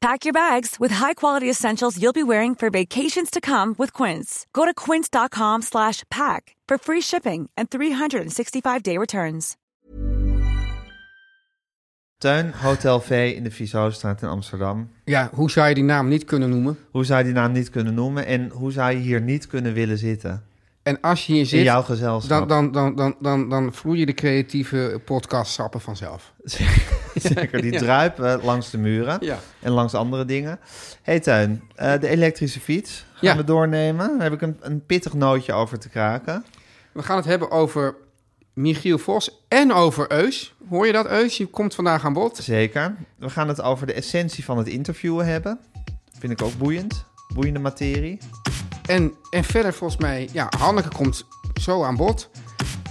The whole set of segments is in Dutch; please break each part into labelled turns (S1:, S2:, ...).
S1: Pack your bags with high-quality essentials you'll be wearing for vacations to come with Quince. Go to quince.com slash pack for free shipping and 365-day returns.
S2: Tuin, Hotel V in de Vieshoofdstraat in Amsterdam.
S3: Ja, hoe zou je die naam niet kunnen noemen?
S2: Hoe zou je die naam niet kunnen noemen en hoe zou je hier niet kunnen willen zitten?
S3: En als je hier
S2: In
S3: zit,
S2: jouw gezelschap.
S3: dan, dan, dan, dan, dan, dan vloeien de creatieve podcastsappen vanzelf.
S2: Zeker, die druipen langs de muren
S3: Ja.
S2: en langs andere dingen. hey Tuin, eh, de elektrische fiets gaan
S3: Ja.
S2: we doornemen. Daar heb ik een, een pittig nootje over te kraken.
S3: We gaan het hebben over Michiel Vos en over Eus. Hoor je dat, Eus? Je komt vandaag aan bod.
S2: Zeker. We gaan het over de essentie van het interviewen hebben. Vind ik ook boeiend. Boeiende materie.
S3: En, en verder volgens mij, ja, Hanneke komt zo aan bod.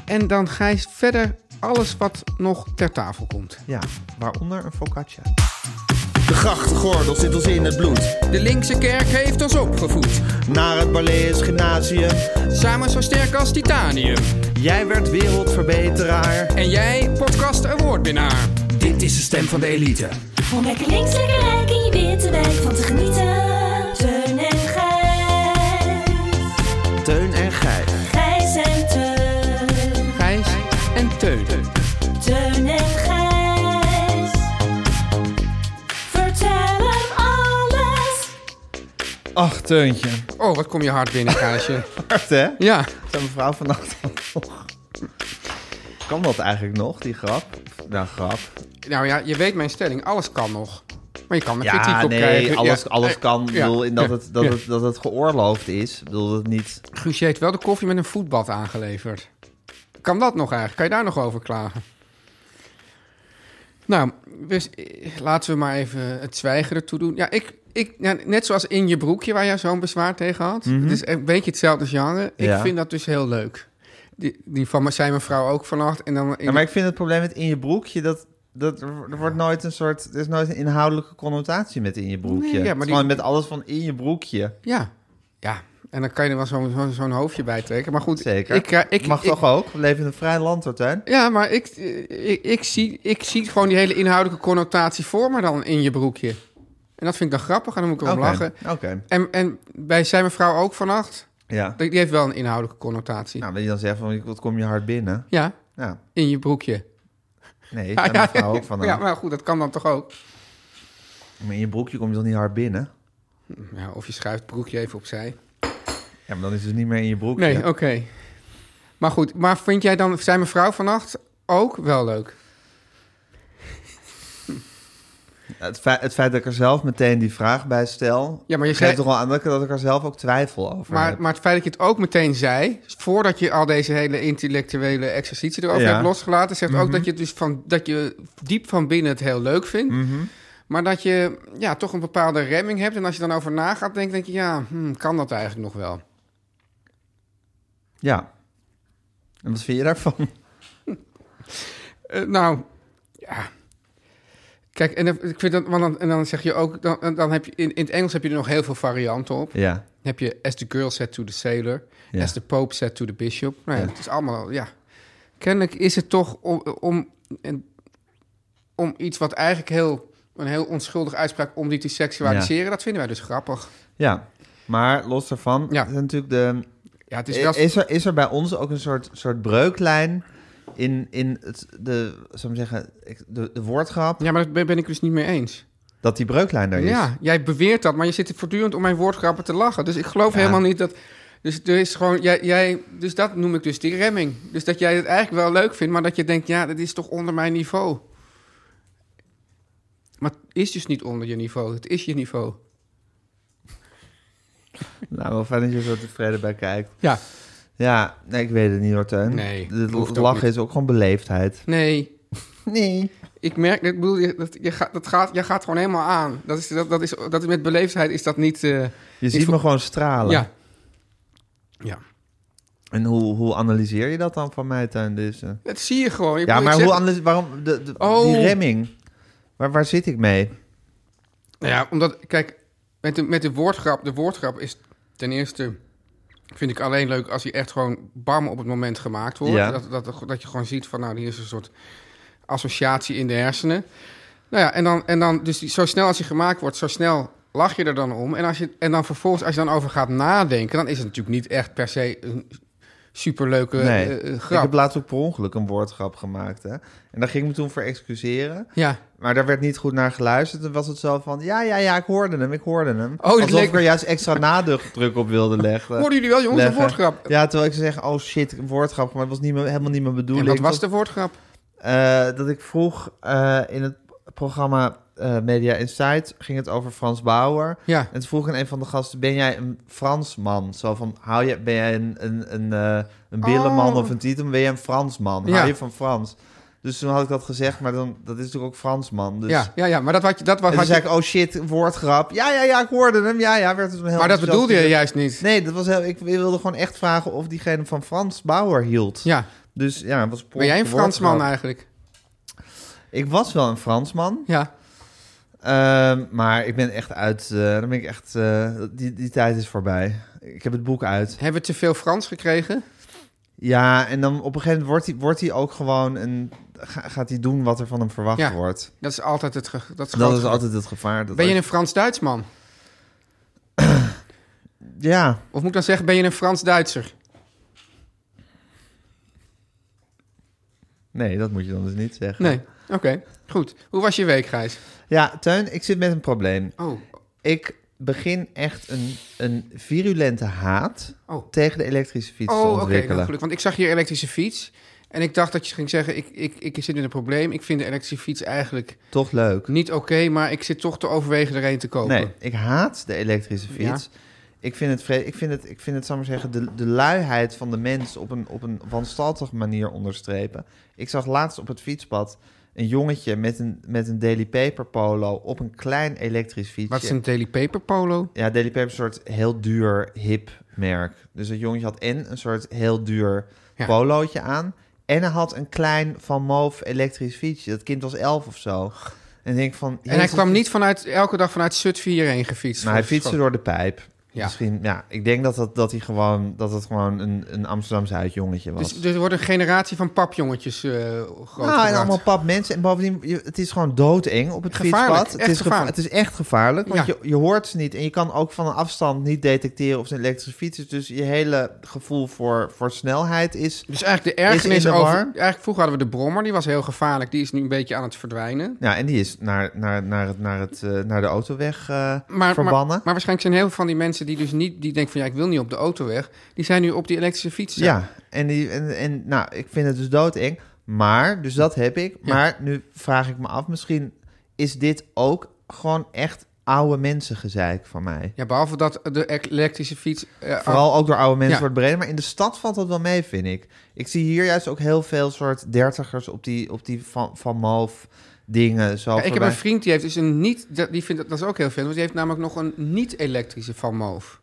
S3: En dan ga je verder alles wat nog ter tafel komt.
S2: Ja, waaronder een focaccia.
S4: De grachtgordel zit ons in het bloed.
S3: De linkse kerk heeft ons opgevoed.
S4: Naar het Barlees Gymnasium.
S3: Samen zo sterk als titanium.
S4: Jij werd wereldverbeteraar.
S3: En jij podcast awardwinnaar.
S4: Dit is de stem van de elite.
S5: Om lekker links, lekker rijk in je witte wijk van te genieten. Teun en Gijs.
S4: Teun en Gijs.
S5: Gijs en Teun.
S3: Gijs en Teun.
S5: Teun en Gijs. Vertel hem alles.
S2: Ach, Teuntje.
S3: Oh, wat kom je hard binnen, Gijsje.
S2: Hard, hè?
S3: ja,
S2: Zijn mevrouw vannacht nog. Kan dat eigenlijk nog, die grap? Nou, grap.
S3: nou ja, je weet mijn stelling. Alles kan nog. Maar je kan er kritiek
S2: Ja,
S3: op
S2: nee,
S3: krijgen.
S2: alles,
S3: Ja,
S2: alles
S3: eh,
S2: kan. Ik
S3: ja,
S2: bedoel, in dat,
S3: ja,
S2: het, dat,
S3: ja.
S2: het, dat het geoorloofd is. Ik bedoel, dat het niet...
S3: Guus, je heeft wel de koffie met een voetbad aangeleverd. Kan dat nog eigenlijk? Kan je daar nog over klagen? Nou, dus, eh, laten we maar even het zwijgen ertoe doen. Ja, ik, ik, ja, net zoals in je broekje waar jij zo'n bezwaar tegen had. Het is een beetje hetzelfde genre.
S2: Mhm. Ja.
S3: Ik vind dat dus heel leuk. Die, die van me- zijn mevrouw ook vannacht. En dan,
S2: Ja, maar ik vind het probleem met in je broekje... Dat, dat, er wordt nooit een soort... Er is nooit een inhoudelijke connotatie met in je broekje.
S3: Nee, ja, maar
S2: Het is
S3: die-
S2: Gewoon met alles van in je broekje.
S3: ja, ja. En dan kan je er wel zo'n zo'n- zo'n hoofdje bij trekken. Maar goed,
S2: Zeker.
S3: Ik, eh, ik,
S2: Mag
S3: ik-
S2: toch ook? We leven in een vrij land, hoor, Teun.
S3: Ja, maar ik, eh, ik, ik, zie, ik zie gewoon die hele inhoudelijke connotatie voor me dan in je broekje. En dat vind ik dan grappig en dan moet ik erom
S2: Oké,
S3: lachen.
S2: Oké,
S3: En, en bij zijn mevrouw ook vannacht,
S2: ja.
S3: die die heeft wel een inhoudelijke connotatie.
S2: Nou, wil je dan zeggen, van, wat kom je hard binnen?
S3: Ja,
S2: Ja,
S3: in je broekje.
S2: nee,
S3: Ja,
S2: daar
S3: ja,
S2: mijn vrouw ook van eh,
S3: ja, maar goed, dat kan dan toch ook.
S2: Maar in je broekje kom je toch niet hard binnen?
S3: Ja, of je schuift het broekje even opzij.
S2: Ja, maar dan is het dus niet meer in je broekje.
S3: Nee, oké. Maar goed, maar vind jij dan zijn mevrouw vannacht ook wel leuk?
S2: Het, feit, het feit dat ik er zelf meteen die vraag bij stel...
S3: Ja, maar je
S2: geeft
S3: zei-
S2: toch wel aan dat ik, dat ik er zelf ook twijfel over heb.
S3: Maar, maar het feit dat je het ook meteen zei, voordat je al deze hele intellectuele exercitie erover
S2: Ja.
S3: hebt losgelaten, zegt ook dat je het dus van, dat je diep van binnen het heel leuk vindt. Maar dat je ja, toch een bepaalde remming hebt. En als je dan over na gaat denken, denk je, ja, hmm, kan dat eigenlijk nog wel?
S2: Ja. En wat vind je daarvan?
S3: Eh, nou, ja. Kijk, en, dan- ik vind dat, want dan, en dan zeg je ook, dan, dan heb je, in, in het Engels heb je er nog heel veel varianten op.
S2: Ja.
S3: Dan heb je as the girl said to the sailor,
S2: Ja.
S3: as the pope said to the bishop. Nou ja,
S2: Ja.
S3: het is allemaal, ja. Kennelijk is het toch om, om, en- om iets wat eigenlijk heel, een heel onschuldig uitspraak, om die te seksualiseren. Dat vinden wij dus grappig.
S2: Ja. Maar los daarvan,
S3: Ja.
S2: is natuurlijk de...
S3: Ja, het is
S2: Eh, Is,
S3: wel...
S2: er, is er bij ons ook een soort, soort breuklijn in, in het, de, zou ik maar zeggen, ik- de, de woordgrap?
S3: ja, maar daar ben- ben ik dus niet mee eens.
S2: Dat die breuklijn er is.
S3: Ja, jij beweert dat, maar je zit voortdurend om mijn woordgrappen te lachen. Dus ik geloof helemaal niet dat... Dus er is gewoon, jij, jij, dus dat noem ik dus die remming. Dus dat jij het eigenlijk wel leuk vindt, maar dat je denkt, ja, dat is toch onder mijn niveau. Maar het is dus niet onder je niveau, het is je niveau.
S2: Nou, wel fijn dat je er zo tevreden bij kijkt.
S3: Ja.
S2: Ja, nee, ik weet het niet hoor, Teun.
S3: Nee,
S2: Het
S3: hoeft ook
S2: lachen
S3: niet.
S2: is ook gewoon beleefdheid.
S3: Nee,
S2: Nee.
S3: ik merk, ik bedoel, je, dat, je, gaat, dat gaat, je gaat gewoon helemaal aan. Dat is, dat, dat is, dat is met beleefdheid is dat niet... eh,
S2: Je ziet
S3: voel-
S2: me gewoon stralen.
S3: ja. Ja.
S2: En hoe, hoe analyseer je dat dan van mij, Teun? Dus, eh?
S3: Dat zie je gewoon. Ik
S2: Ja,
S3: bedoel,
S2: maar
S3: ik
S2: hoe
S3: zeg-
S2: anders? Waarom de, de-
S3: Oh.
S2: die remming? Waar, waar zit ik mee?
S3: Nou ja, omdat, kijk, met de, met de woordgrap, de woordgrap is ten eerste, vind ik alleen leuk als hij echt gewoon bam op het moment gemaakt wordt.
S2: Ja.
S3: Dat, dat, dat je gewoon ziet van, nou, hier is een soort associatie in de hersenen. Nou ja, en dan, en dan dus die, zo snel als hij gemaakt wordt, zo snel lach je er dan om. En, als je, en dan vervolgens, als je dan over gaat nadenken, dan is het natuurlijk niet echt per se een superleuke
S2: nee.
S3: eh, eh,
S2: Ik heb
S3: grap.
S2: laatst ook per ongeluk een woordgrap gemaakt. Hè? En daar ging ik me toen voor excuseren.
S3: Ja,
S2: Maar daar werd niet goed naar geluisterd. En was het zo van, ja, ja, ja, ik hoorde hem, ik hoorde hem.
S3: dit
S2: Alsof
S3: Oh, leek-
S2: ik er juist extra nadruk op wilde leggen.
S3: hoorden jullie wel, jongens, een
S2: leggen.
S3: woordgrap?
S2: Ja, terwijl ik zou zeggen, oh shit, een woordgrap. Maar dat was niet mijn- helemaal niet mijn
S3: En
S2: bedoeling.
S3: wat was
S2: Het
S3: de woordgrap?
S2: Eh, dat ik vroeg eh, in het programma eh, Media Insight ging het over Frans Bauer.
S3: Ja.
S2: En toen vroeg ik aan een van de gasten: Ben jij een Fransman? Zo van: hou je, Ben jij een, een, een, eh, een billenman
S3: Oh.
S2: of een titel? Ben jij een Fransman?
S3: Ja.
S2: Hou je van Frans? Dus toen had ik dat gezegd, maar dan, dat is natuurlijk ook Fransman. Dus.
S3: Ja, ja, ja, maar dat had je... Dat was,
S2: En toen
S3: had
S2: zei
S3: je
S2: ik, oh shit, woordgrap. Ja, ja, ja, ik hoorde hem. Ja, ja, werd het een heel
S3: maar dat
S2: enthousiast
S3: bedoelde je
S2: idee.
S3: juist niet.
S2: Nee, dat was heel, ik wilde gewoon echt vragen of diegene van Frans Bauer hield.
S3: Ja,
S2: Dus ja, het was
S3: ben jij een
S2: woordgrap.
S3: Fransman eh? eigenlijk?
S2: Ik was wel een Fransman.
S3: Ja.
S2: Ehm, maar ik ben echt uit. eh, dan ben ik echt. eh, die, die tijd is voorbij. Ik heb het boek uit.
S3: Hebben we te veel Frans gekregen?
S2: Ja, en dan op een gegeven moment wordt hij, wordt hij ook gewoon. Een, ga- gaat hij doen wat er van hem verwacht
S3: Ja,
S2: wordt.
S3: Dat is altijd het ge- dat is
S2: Dat
S3: groot
S2: is
S3: ge-
S2: altijd het gevaar. Dat
S3: Ben je
S2: als-
S3: een Frans-Duitsman?
S2: Ja,
S3: Of moet ik dan zeggen, ben je een Frans-Duitser?
S2: nee, dat moet je dan dus niet zeggen.
S3: Nee. Oké, goed. Hoe was je week, Gijs?
S2: Ja, Teun, ik zit met een probleem.
S3: Oh,
S2: Ik begin echt een, een virulente haat
S3: oh.
S2: tegen de elektrische fiets te
S3: Oh, oké, heel
S2: ontwikkelen.
S3: gelukkig. Want ik zag hier elektrische fiets. En ik dacht dat je ging zeggen, ik, ik, ik zit in een probleem. Ik vind de elektrische fiets eigenlijk
S2: Toch leuk.
S3: niet oké, maar ik zit toch te overwegen er een te kopen.
S2: Nee, ik haat de elektrische fiets. Ik vind het, vre- ik vind het, ik vind het, zal ik maar zeggen, de, de luiheid van de mens op een, op een wanstaltige manier onderstrepen. Ik zag laatst op het fietspad een jongetje met een, met een Daily Paper polo op een klein elektrisch fietsje.
S3: Wat is een Daily Paper polo?
S2: Ja, Daily Paper is een soort heel duur hip merk. Dus dat jongetje had en een soort heel duur
S3: Ja.
S2: polootje aan. En hij had een klein van Moof elektrisch fietsje. Dat kind was elf of zo. En ik denk van.
S3: en hij
S2: jezus,
S3: kwam niet vanuit, elke dag vanuit Zutphen hierheen gefietst.
S2: maar hij
S3: volgens-
S2: fietste door de pijp.
S3: Ja.
S2: Misschien, ja, ik denk dat, dat, dat hij gewoon, dat het gewoon een, een Amsterdamse huidjongetje was.
S3: Dus, dus er wordt een generatie van papjongetjes eh groot
S2: nou, en allemaal pap mensen. En bovendien, je- het is gewoon doodeng op het
S3: Gevaarlijk,
S2: fietspad.
S3: echt
S2: Het is, geva-
S3: gevaarlijk.
S2: het is echt gevaarlijk, want
S3: Ja.
S2: je, je hoort ze niet. En je kan ook van een afstand niet detecteren of ze een elektrische fiets is. Dus je hele gevoel voor, voor snelheid is...
S3: Dus eigenlijk de
S2: Is in
S3: ergernis
S2: de
S3: over...
S2: war.
S3: Eigenlijk vroeger hadden we de brommer, die was heel gevaarlijk. Die is nu een beetje aan het verdwijnen.
S2: Ja, en die is naar, naar, naar, het, naar, het, eh, naar de autoweg eh,
S3: Maar, maar,
S2: verbannen.
S3: maar waarschijnlijk zijn heel veel van die mensen die dus niet... die denken van ja, ik wil niet op de autoweg. Die zijn nu op die elektrische fietsen.
S2: Ja, en, die, en, en nou, ik vind het dus doodeng. Maar, dus dat heb ik.
S3: Ja.
S2: Maar nu vraag ik me af, misschien is dit ook gewoon echt oude mensengezeik van mij.
S3: Ja, behalve dat de e- elektrische fiets... eh,
S2: Vooral ook door oude mensen
S3: Ja.
S2: wordt breder. Maar in de stad valt dat wel mee, vind ik. Ik zie hier juist ook heel veel soort dertigers op die, op die van, van Moof dingen. Zo
S3: Ja, ik heb
S2: voorbij.
S3: een vriend die heeft dus een niet... dat- Die vindt dat, dat is ook heel veel. Want die heeft namelijk nog een niet-elektrische Van Moof.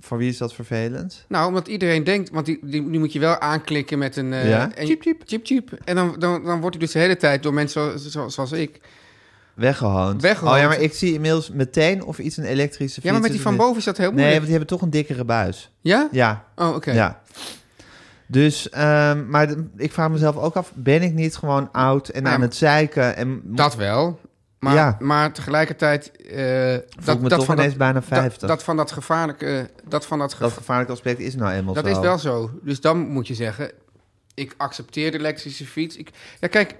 S2: Voor wie is dat vervelend?
S3: Nou, omdat iedereen denkt... Want die, die, die moet je wel aanklikken met een... eh,
S2: Ja.
S3: en- Chip, chip. En dan, dan, dan wordt hij dus de hele tijd door mensen zo- zo- zoals ik...
S2: Weggehoond.
S3: Weggehoond.
S2: Oh ja, maar ik zie inmiddels meteen of iets een elektrische fiets
S3: Ja, maar met
S2: is
S3: die
S2: of
S3: van
S2: niet.
S3: boven is dat heel
S2: Nee, want
S3: moeilijk.
S2: die hebben toch een dikkere buis.
S3: Ja?
S2: Ja,
S3: Oh, oké.
S2: Ja. Dus, ehm, maar de- ik vraag mezelf ook af, ben ik niet gewoon oud en
S3: Ja,
S2: aan
S3: maar-
S2: het zeiken? En mo-
S3: Nou, Dat wel. Maar,
S2: Ja.
S3: maar tegelijkertijd... eh
S2: voel ik me toch ineens bijna 50.
S3: Dat,
S2: Dat,
S3: dat van dat gevaarlijke... eh, Dat, van dat, geva-
S2: gevaarlijke aspect is nou eenmaal
S3: dat
S2: zo.
S3: is wel zo. Dus dan moet je zeggen... Ik accepteer de elektrische fiets. Ik, ja, kijk.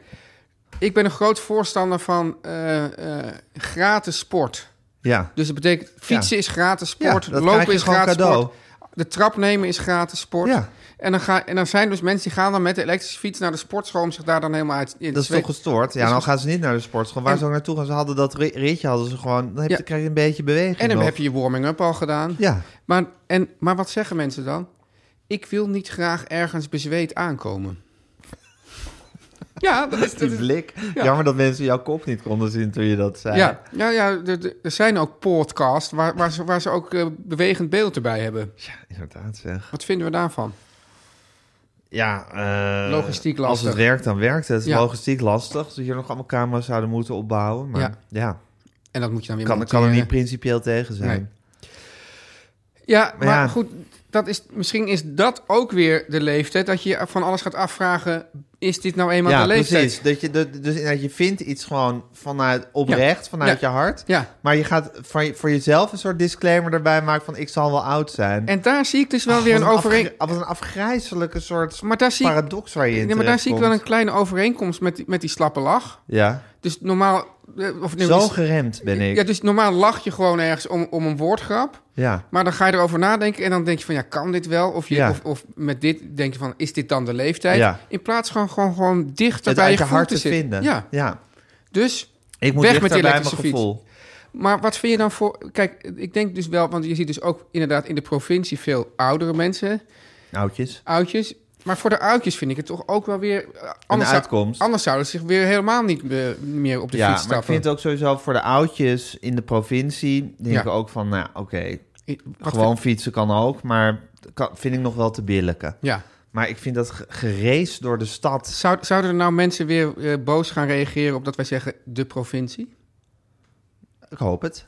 S3: Ik ben een groot voorstander van eh, eh, gratis sport.
S2: Ja,
S3: Dus dat betekent, fietsen is gratis
S2: Ja,
S3: sport.
S2: dat krijg je
S3: lopen is
S2: gewoon
S3: gratis
S2: cadeau.
S3: sport. de trap nemen is gratis sport.
S2: Ja.
S3: En, dan ga, en dan zijn dus mensen die gaan dan met de elektrische fiets naar de sportschool om zich daar dan helemaal uit... in te
S2: Dat is toch
S3: zweten.
S2: gestoord? Ja,
S3: Dus-
S2: dan gaan ze niet naar de sportschool. Waar
S3: En-
S2: ze ook naartoe gaan, ze hadden dat ri- ritje, hadden ze gewoon... Dan heb je,
S3: Ja.
S2: krijg je een beetje beweging
S3: En dan
S2: nog.
S3: heb je je warming-up al gedaan.
S2: Ja,
S3: Maar, en, maar wat zeggen mensen dan? Ik wil niet graag ergens bezweet aankomen. ja, dat is... Dat
S2: die
S3: is-
S2: blik. Jammer dat mensen jouw kop niet konden zien toen je dat zei.
S3: ja, ja, ja er, er- er zijn ook podcasts waar, waar, ze, waar ze ook eh, bewegend beeld erbij hebben.
S2: Ja, inderdaad zeg.
S3: Wat vinden we daarvan?
S2: Ja, eh,
S3: Logistiek
S2: Als
S3: lastig.
S2: het werkt, dan werkt het. Het is
S3: Ja.
S2: Logistiek lastig. Dus hier nog allemaal camera's zouden moeten opbouwen. Maar ja,
S3: Ja. En dat moet je dan weer
S2: kan, kan er niet
S3: monteren.
S2: principieel tegen zijn.
S3: Nee. Ja, maar
S2: ja.
S3: goed, dat is, misschien is dat ook weer de leeftijd. Dat je je van alles gaat afvragen, is dit nou eenmaal
S2: ja,
S3: de leeftijd?
S2: precies. Dat je, dat, dus dat je vindt iets gewoon vanuit oprecht, vanuit
S3: Ja.
S2: je hart.
S3: Ja,
S2: Maar je gaat voor, je- voor jezelf een soort disclaimer erbij maken van ik zal wel oud zijn.
S3: en daar zie ik dus wel weer
S2: Wat
S3: een overeenkomst.
S2: afgri- Wat een afgrijzelijke soort
S3: Maar daar zie ik,
S2: paradox waar je in
S3: nee, maar daar zie ik wel een
S2: terechtkomt.
S3: kleine overeenkomst met die, met die slappe lach.
S2: Ja,
S3: Dus normaal... eh, Of, nee,
S2: zo
S3: dus-
S2: geremd ben ik.
S3: Ja,
S2: Ja,
S3: dus normaal lach je gewoon ergens om, om een woordgrap. Maar dan ga je erover nadenken en dan denk je van ja, kan dit wel? Of, je,
S2: Ja.
S3: of, of met dit denk je van is dit dan de leeftijd?
S2: Ja.
S3: In plaats van gewoon, gewoon dichter
S2: het
S3: bij
S2: uit
S3: je
S2: je
S3: gevoel
S2: hart
S3: te
S2: te
S3: zitten.
S2: vinden.
S3: Ja.
S2: ja.
S3: Dus,
S2: Ik moet
S3: Weg
S2: dichter
S3: met die
S2: bij mijn
S3: elektrische fiets.
S2: gevoel.
S3: maar wat vind je dan voor? Kijk, ik denk dus wel, want je ziet dus ook inderdaad in de provincie veel oudere mensen,
S2: Oudjes.
S3: oudjes. Maar voor de oudjes vind ik het toch ook wel weer eh, anders. zou-
S2: uitkomst.
S3: anders zouden ze zich weer helemaal niet be- meer op de
S2: Ja,
S3: fiets
S2: maar ik
S3: stappen.
S2: vind het ook sowieso voor de oudjes in de provincie... denk
S3: Ja.
S2: ik ook van, nou oké,
S3: Ik- wat
S2: gewoon
S3: vind-
S2: fietsen kan ook... maar kan, vind ik nog wel te billijken.
S3: Ja.
S2: Maar ik vind dat ge- gereisd door de stad...
S3: Zou, zouden er nou mensen weer eh, boos gaan reageren op dat wij zeggen de provincie?
S2: Ik hoop het.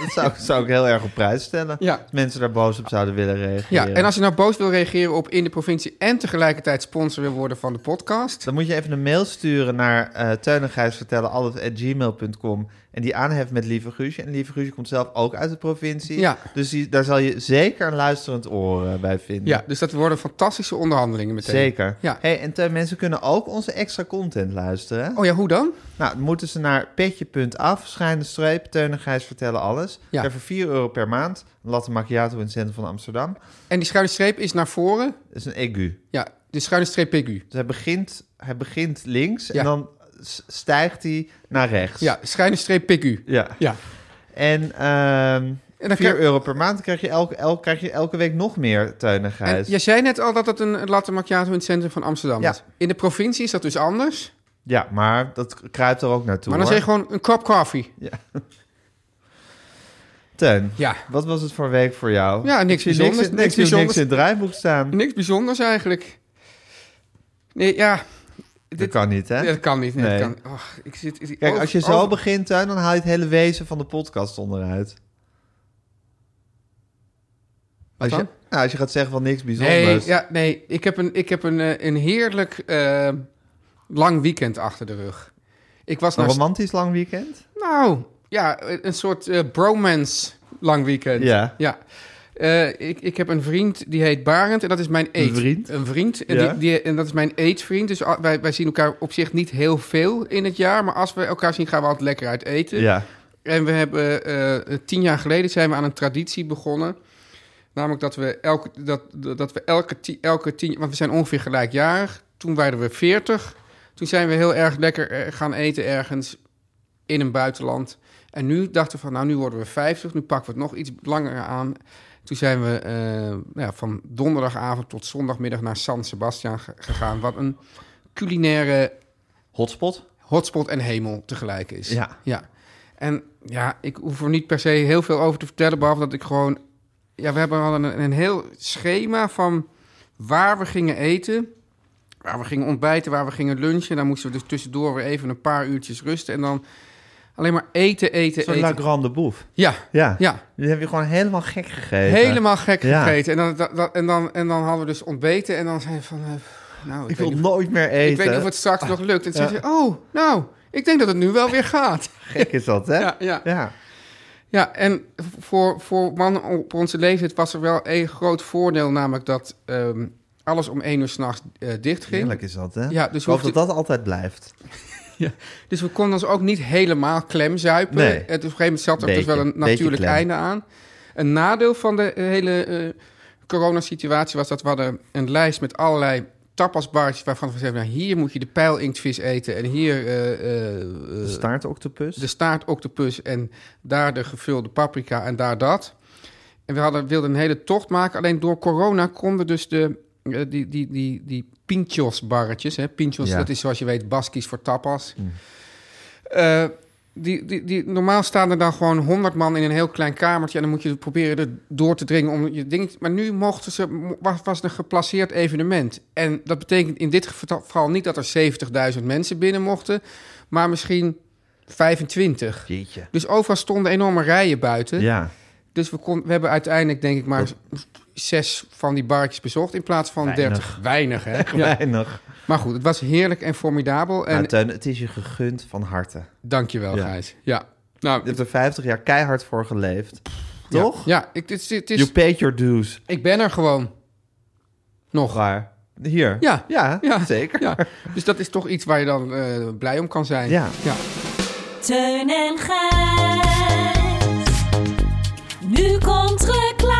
S2: dat zou, ik- zou ik heel erg op prijs stellen.
S3: Ja.
S2: Mensen daar boos op zouden willen
S3: Ja,
S2: reageren.
S3: en als je nou boos wil reageren op in de provincie en tegelijkertijd sponsor wil worden van de podcast.
S2: Dus Dan moet je even een mail sturen naar eh Teun en Gijs vertellen alles at gmail.com. En die aanheft met Lieve Guusje. En Lieve Guusje komt zelf ook uit de provincie.
S3: Ja.
S2: Dus die, daar zal je zeker een luisterend oor eh, bij vinden.
S3: Ja, dus dat worden fantastische onderhandelingen meteen.
S2: Zeker.
S3: Ja.
S2: Hey, en Teun, mensen kunnen ook onze extra content luisteren.
S3: Oh ja, hoe dan?
S2: Nou, dan moeten ze naar petje.af, schuine streep, Teun en Gijs vertellen alles.
S3: Ja.
S2: Daar voor 4 euro per maand. Een latte macchiato in het centrum van Amsterdam.
S3: En die schuine streep is naar voren.
S2: Dat is een egu.
S3: Ja, de schuine streep agu.
S2: Dus hij begint, hij begint links
S3: Ja.
S2: en dan s- stijgt hij naar rechts.
S3: Ja, schuine streep agu.
S2: Ja.
S3: Ja.
S2: En, ehm
S3: En
S2: 4
S3: dan krijg-
S2: euro per maand krijg je, elke, elke, krijg je elke week nog meer Teun en
S3: En
S2: Gijs.
S3: jij zei net al dat het een latte macchiato in het centrum van Amsterdam
S2: Ja.
S3: is. In de provincie is dat dus anders.
S2: Ja, maar dat kruipt er ook naartoe.
S3: Maar dan
S2: hoor.
S3: zeg je gewoon een kop koffie.
S2: Teun,
S3: Ja.
S2: wat was het voor week voor jou?
S3: Ja,
S2: Ik
S3: niks
S2: zie
S3: bijzonders,
S2: Niks,
S3: niks
S2: niks, niks,
S3: bijzonders.
S2: in het draaiboek staan.
S3: Niks bijzonders eigenlijk. Nee, ja.
S2: Dat kan niet, hè?
S3: Nee, dat kan niet. Nee,
S2: Nee.
S3: Dat kan, Och, ik zit, ik- oh,
S2: Kijk,
S3: over-
S2: als je zo
S3: over-
S2: begint, Teun, dan haal je het hele wezen van de podcast onderuit. Als je,
S3: dan?
S2: nou, als je gaat zeggen van niks bijzonders.
S3: Nee, ja, nee, ik heb een, ik heb een, eh, een heerlijk eh, lang weekend achter de rug. Ik was
S2: Een
S3: naar...
S2: romantisch lang weekend?
S3: Nou, ja, een soort eh, bromance lang weekend.
S2: Ja.
S3: ja. Eh, ik, ik heb een vriend die heet Barend en dat is mijn eet.
S2: vriend?
S3: Een vriend. En,
S2: Ja.
S3: die, die- en dat is mijn eetvriend. Dus al- wij, wij zien elkaar op zich niet heel veel in het jaar. Maar als we elkaar zien, gaan we altijd lekker uit eten.
S2: Ja.
S3: En we hebben eh, tien jaar geleden zijn we aan een traditie begonnen. Namelijk dat we elke, dat, dat we elke, ti- elke tien, want we zijn ongeveer gelijkjarig. Toen waren we veertig. Toen zijn we heel erg lekker eh, gaan eten ergens in een buitenland. En nu dachten we van, nou nu worden we 50, nu pakken we het nog iets langer aan. Toen zijn we eh, nou ja, van donderdagavond tot zondagmiddag naar San Sebastian ge- gegaan. Wat een culinaire
S2: Hotspot?
S3: hotspot en hemel tegelijk is.
S2: Ja.
S3: ja. En ja, ik hoef er niet per se heel veel over te vertellen, behalve dat ik gewoon... Ja, we hebben al een, een heel schema van waar we gingen eten, waar we gingen ontbijten, waar we gingen lunchen. Dan moesten we dus tussendoor weer even een paar uurtjes rusten en dan alleen maar eten, eten,
S2: Zo'n
S3: eten.
S2: La Grande Bouffe.
S3: Ja,
S2: Ja.
S3: ja.
S2: Die heb je gewoon helemaal gek gegeten.
S3: Helemaal gek
S2: Ja.
S3: gegeten. En dan, dat- dat- en, dan, en dan hadden we dus ontbeten en dan zei je van... eh, nou,
S2: Ik
S3: weet
S2: wil
S3: niet-
S2: nooit meer eten. Ah.
S3: ik weet niet of het straks nog lukt. En toen zei je, oh, nou, ik denk dat het nu wel weer gaat.
S2: Gek is dat, hè?
S3: Ja, ja.
S2: ja.
S3: Ja, en voor, voor mannen op onze leeftijd was er wel een groot voordeel, namelijk dat ehm, alles om één uur s'nachts eh dicht ging.
S2: Heerlijk is dat, hè?
S3: Ja, dus
S2: ik hoop
S3: hoeft
S2: dat dat altijd blijft.
S3: Dus we konden ons ook niet helemaal klemzuipen.
S2: Nee.
S3: En dus op een gegeven moment zat er
S2: Beetje,
S3: dus wel een
S2: beetje
S3: natuurlijk
S2: klem.
S3: einde aan. Een nadeel van de hele eh, coronasituatie was dat we hadden een lijst met allerlei tapasbarretjes waarvan we zeiden, nou, hier moet je de pijlinktvis eten en hier eh, eh,
S2: De staartoctopus.
S3: de staartoctopus en daar de gevulde paprika en daar dat. En we hadden, wilden een hele tocht maken, alleen door corona konden dus de, eh, die, die, die, die pinchos-barretjes, hè, pinchos,
S2: Ja.
S3: dat is zoals je weet Baskisch voor tapas. Eh, die, die, die, normaal staan er dan gewoon 100 man in een heel klein kamertje en dan moet je proberen er door te dringen om je ding. Maar nu mochten ze, mo- was, was het een geplaceerd evenement. En dat betekent in dit geval niet dat er 70.000 mensen binnen mochten, maar misschien 25.
S2: Jeetje.
S3: Dus overal stonden enorme rijen buiten.
S2: Ja.
S3: Dus we, kon, we hebben uiteindelijk, denk ik, maar zes van die barretjes bezocht in plaats van
S2: Weinig.
S3: 30. Weinig, hè? Ja.
S2: Weinig.
S3: Maar goed, het was heerlijk en formidabel. En
S2: Nou, Teun, het is je gegund van harte.
S3: dankjewel,
S2: Ja.
S3: Gijs. Ja. Nou,
S2: Je hebt er 50 jaar keihard voor geleefd. Toch?
S3: Ja, ik, het, is- het is,
S2: You paid your dues.
S3: ik ben er gewoon. Nog.
S2: Waar? Hier.
S3: Ja.
S2: Ja,
S3: Ja.
S2: zeker.
S3: Ja. Dus dat is toch iets waar je dan eh, blij om kan zijn.
S2: Ja.
S3: ja.
S5: Teun en Gijs. Nu komt reclame.